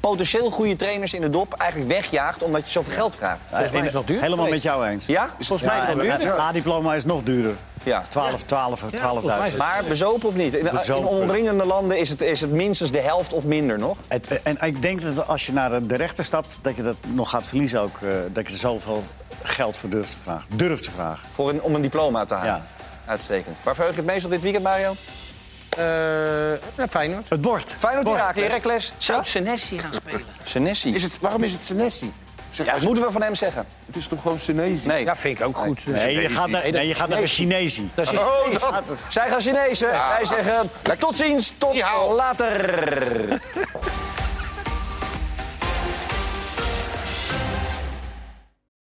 Speaker 1: potentieel goede trainers in de dop eigenlijk wegjaagt omdat je zoveel geld vraagt.
Speaker 4: Volgens mij is dat duur.
Speaker 2: eh, Helemaal
Speaker 4: Nee.
Speaker 2: met jou eens.
Speaker 1: Ja?
Speaker 4: Volgens mij is dat
Speaker 2: en
Speaker 4: duurder.
Speaker 2: het A-diploma is nog duurder.
Speaker 1: Ja.
Speaker 2: 12, 12, 12.000.
Speaker 4: volgens mij is het-
Speaker 1: Maar bezopen of niet? In, in
Speaker 2: Bezopen.
Speaker 1: omringende landen is het, is het minstens de helft of minder nog.
Speaker 2: Het- eh, en ik denk dat als je naar de rechter stapt, dat je dat nog gaat verliezen ook. eh, dat je er zoveel geld voor durft te vragen. Durft te vragen.
Speaker 1: Voor een, om een diploma te halen.
Speaker 2: Ja.
Speaker 1: Uitstekend. Waar verheug je het meest op dit weekend, Mario?
Speaker 4: Eh, ja, Feyenoord.
Speaker 2: Het bord.
Speaker 1: Feyenoord
Speaker 2: Bord.
Speaker 1: Heracles. Heracles.
Speaker 4: Zou Senesi gaan spelen?
Speaker 1: Senesi.
Speaker 3: Is het, waarom is het Senesi? Zeg,
Speaker 1: Ja,
Speaker 3: als-
Speaker 1: dat moeten we van hem zeggen.
Speaker 3: Het is toch gewoon Senesi?
Speaker 1: Nee.
Speaker 4: Ja, vind ik ook goed. Dus-
Speaker 2: Nee, je gaat naar, nee, je gaat naar een Chinezie.
Speaker 4: Dat is-
Speaker 3: Oh, dat...
Speaker 1: Zij gaan Chinezen. Wij zeggen tot ziens, tot
Speaker 3: Ja.
Speaker 1: later.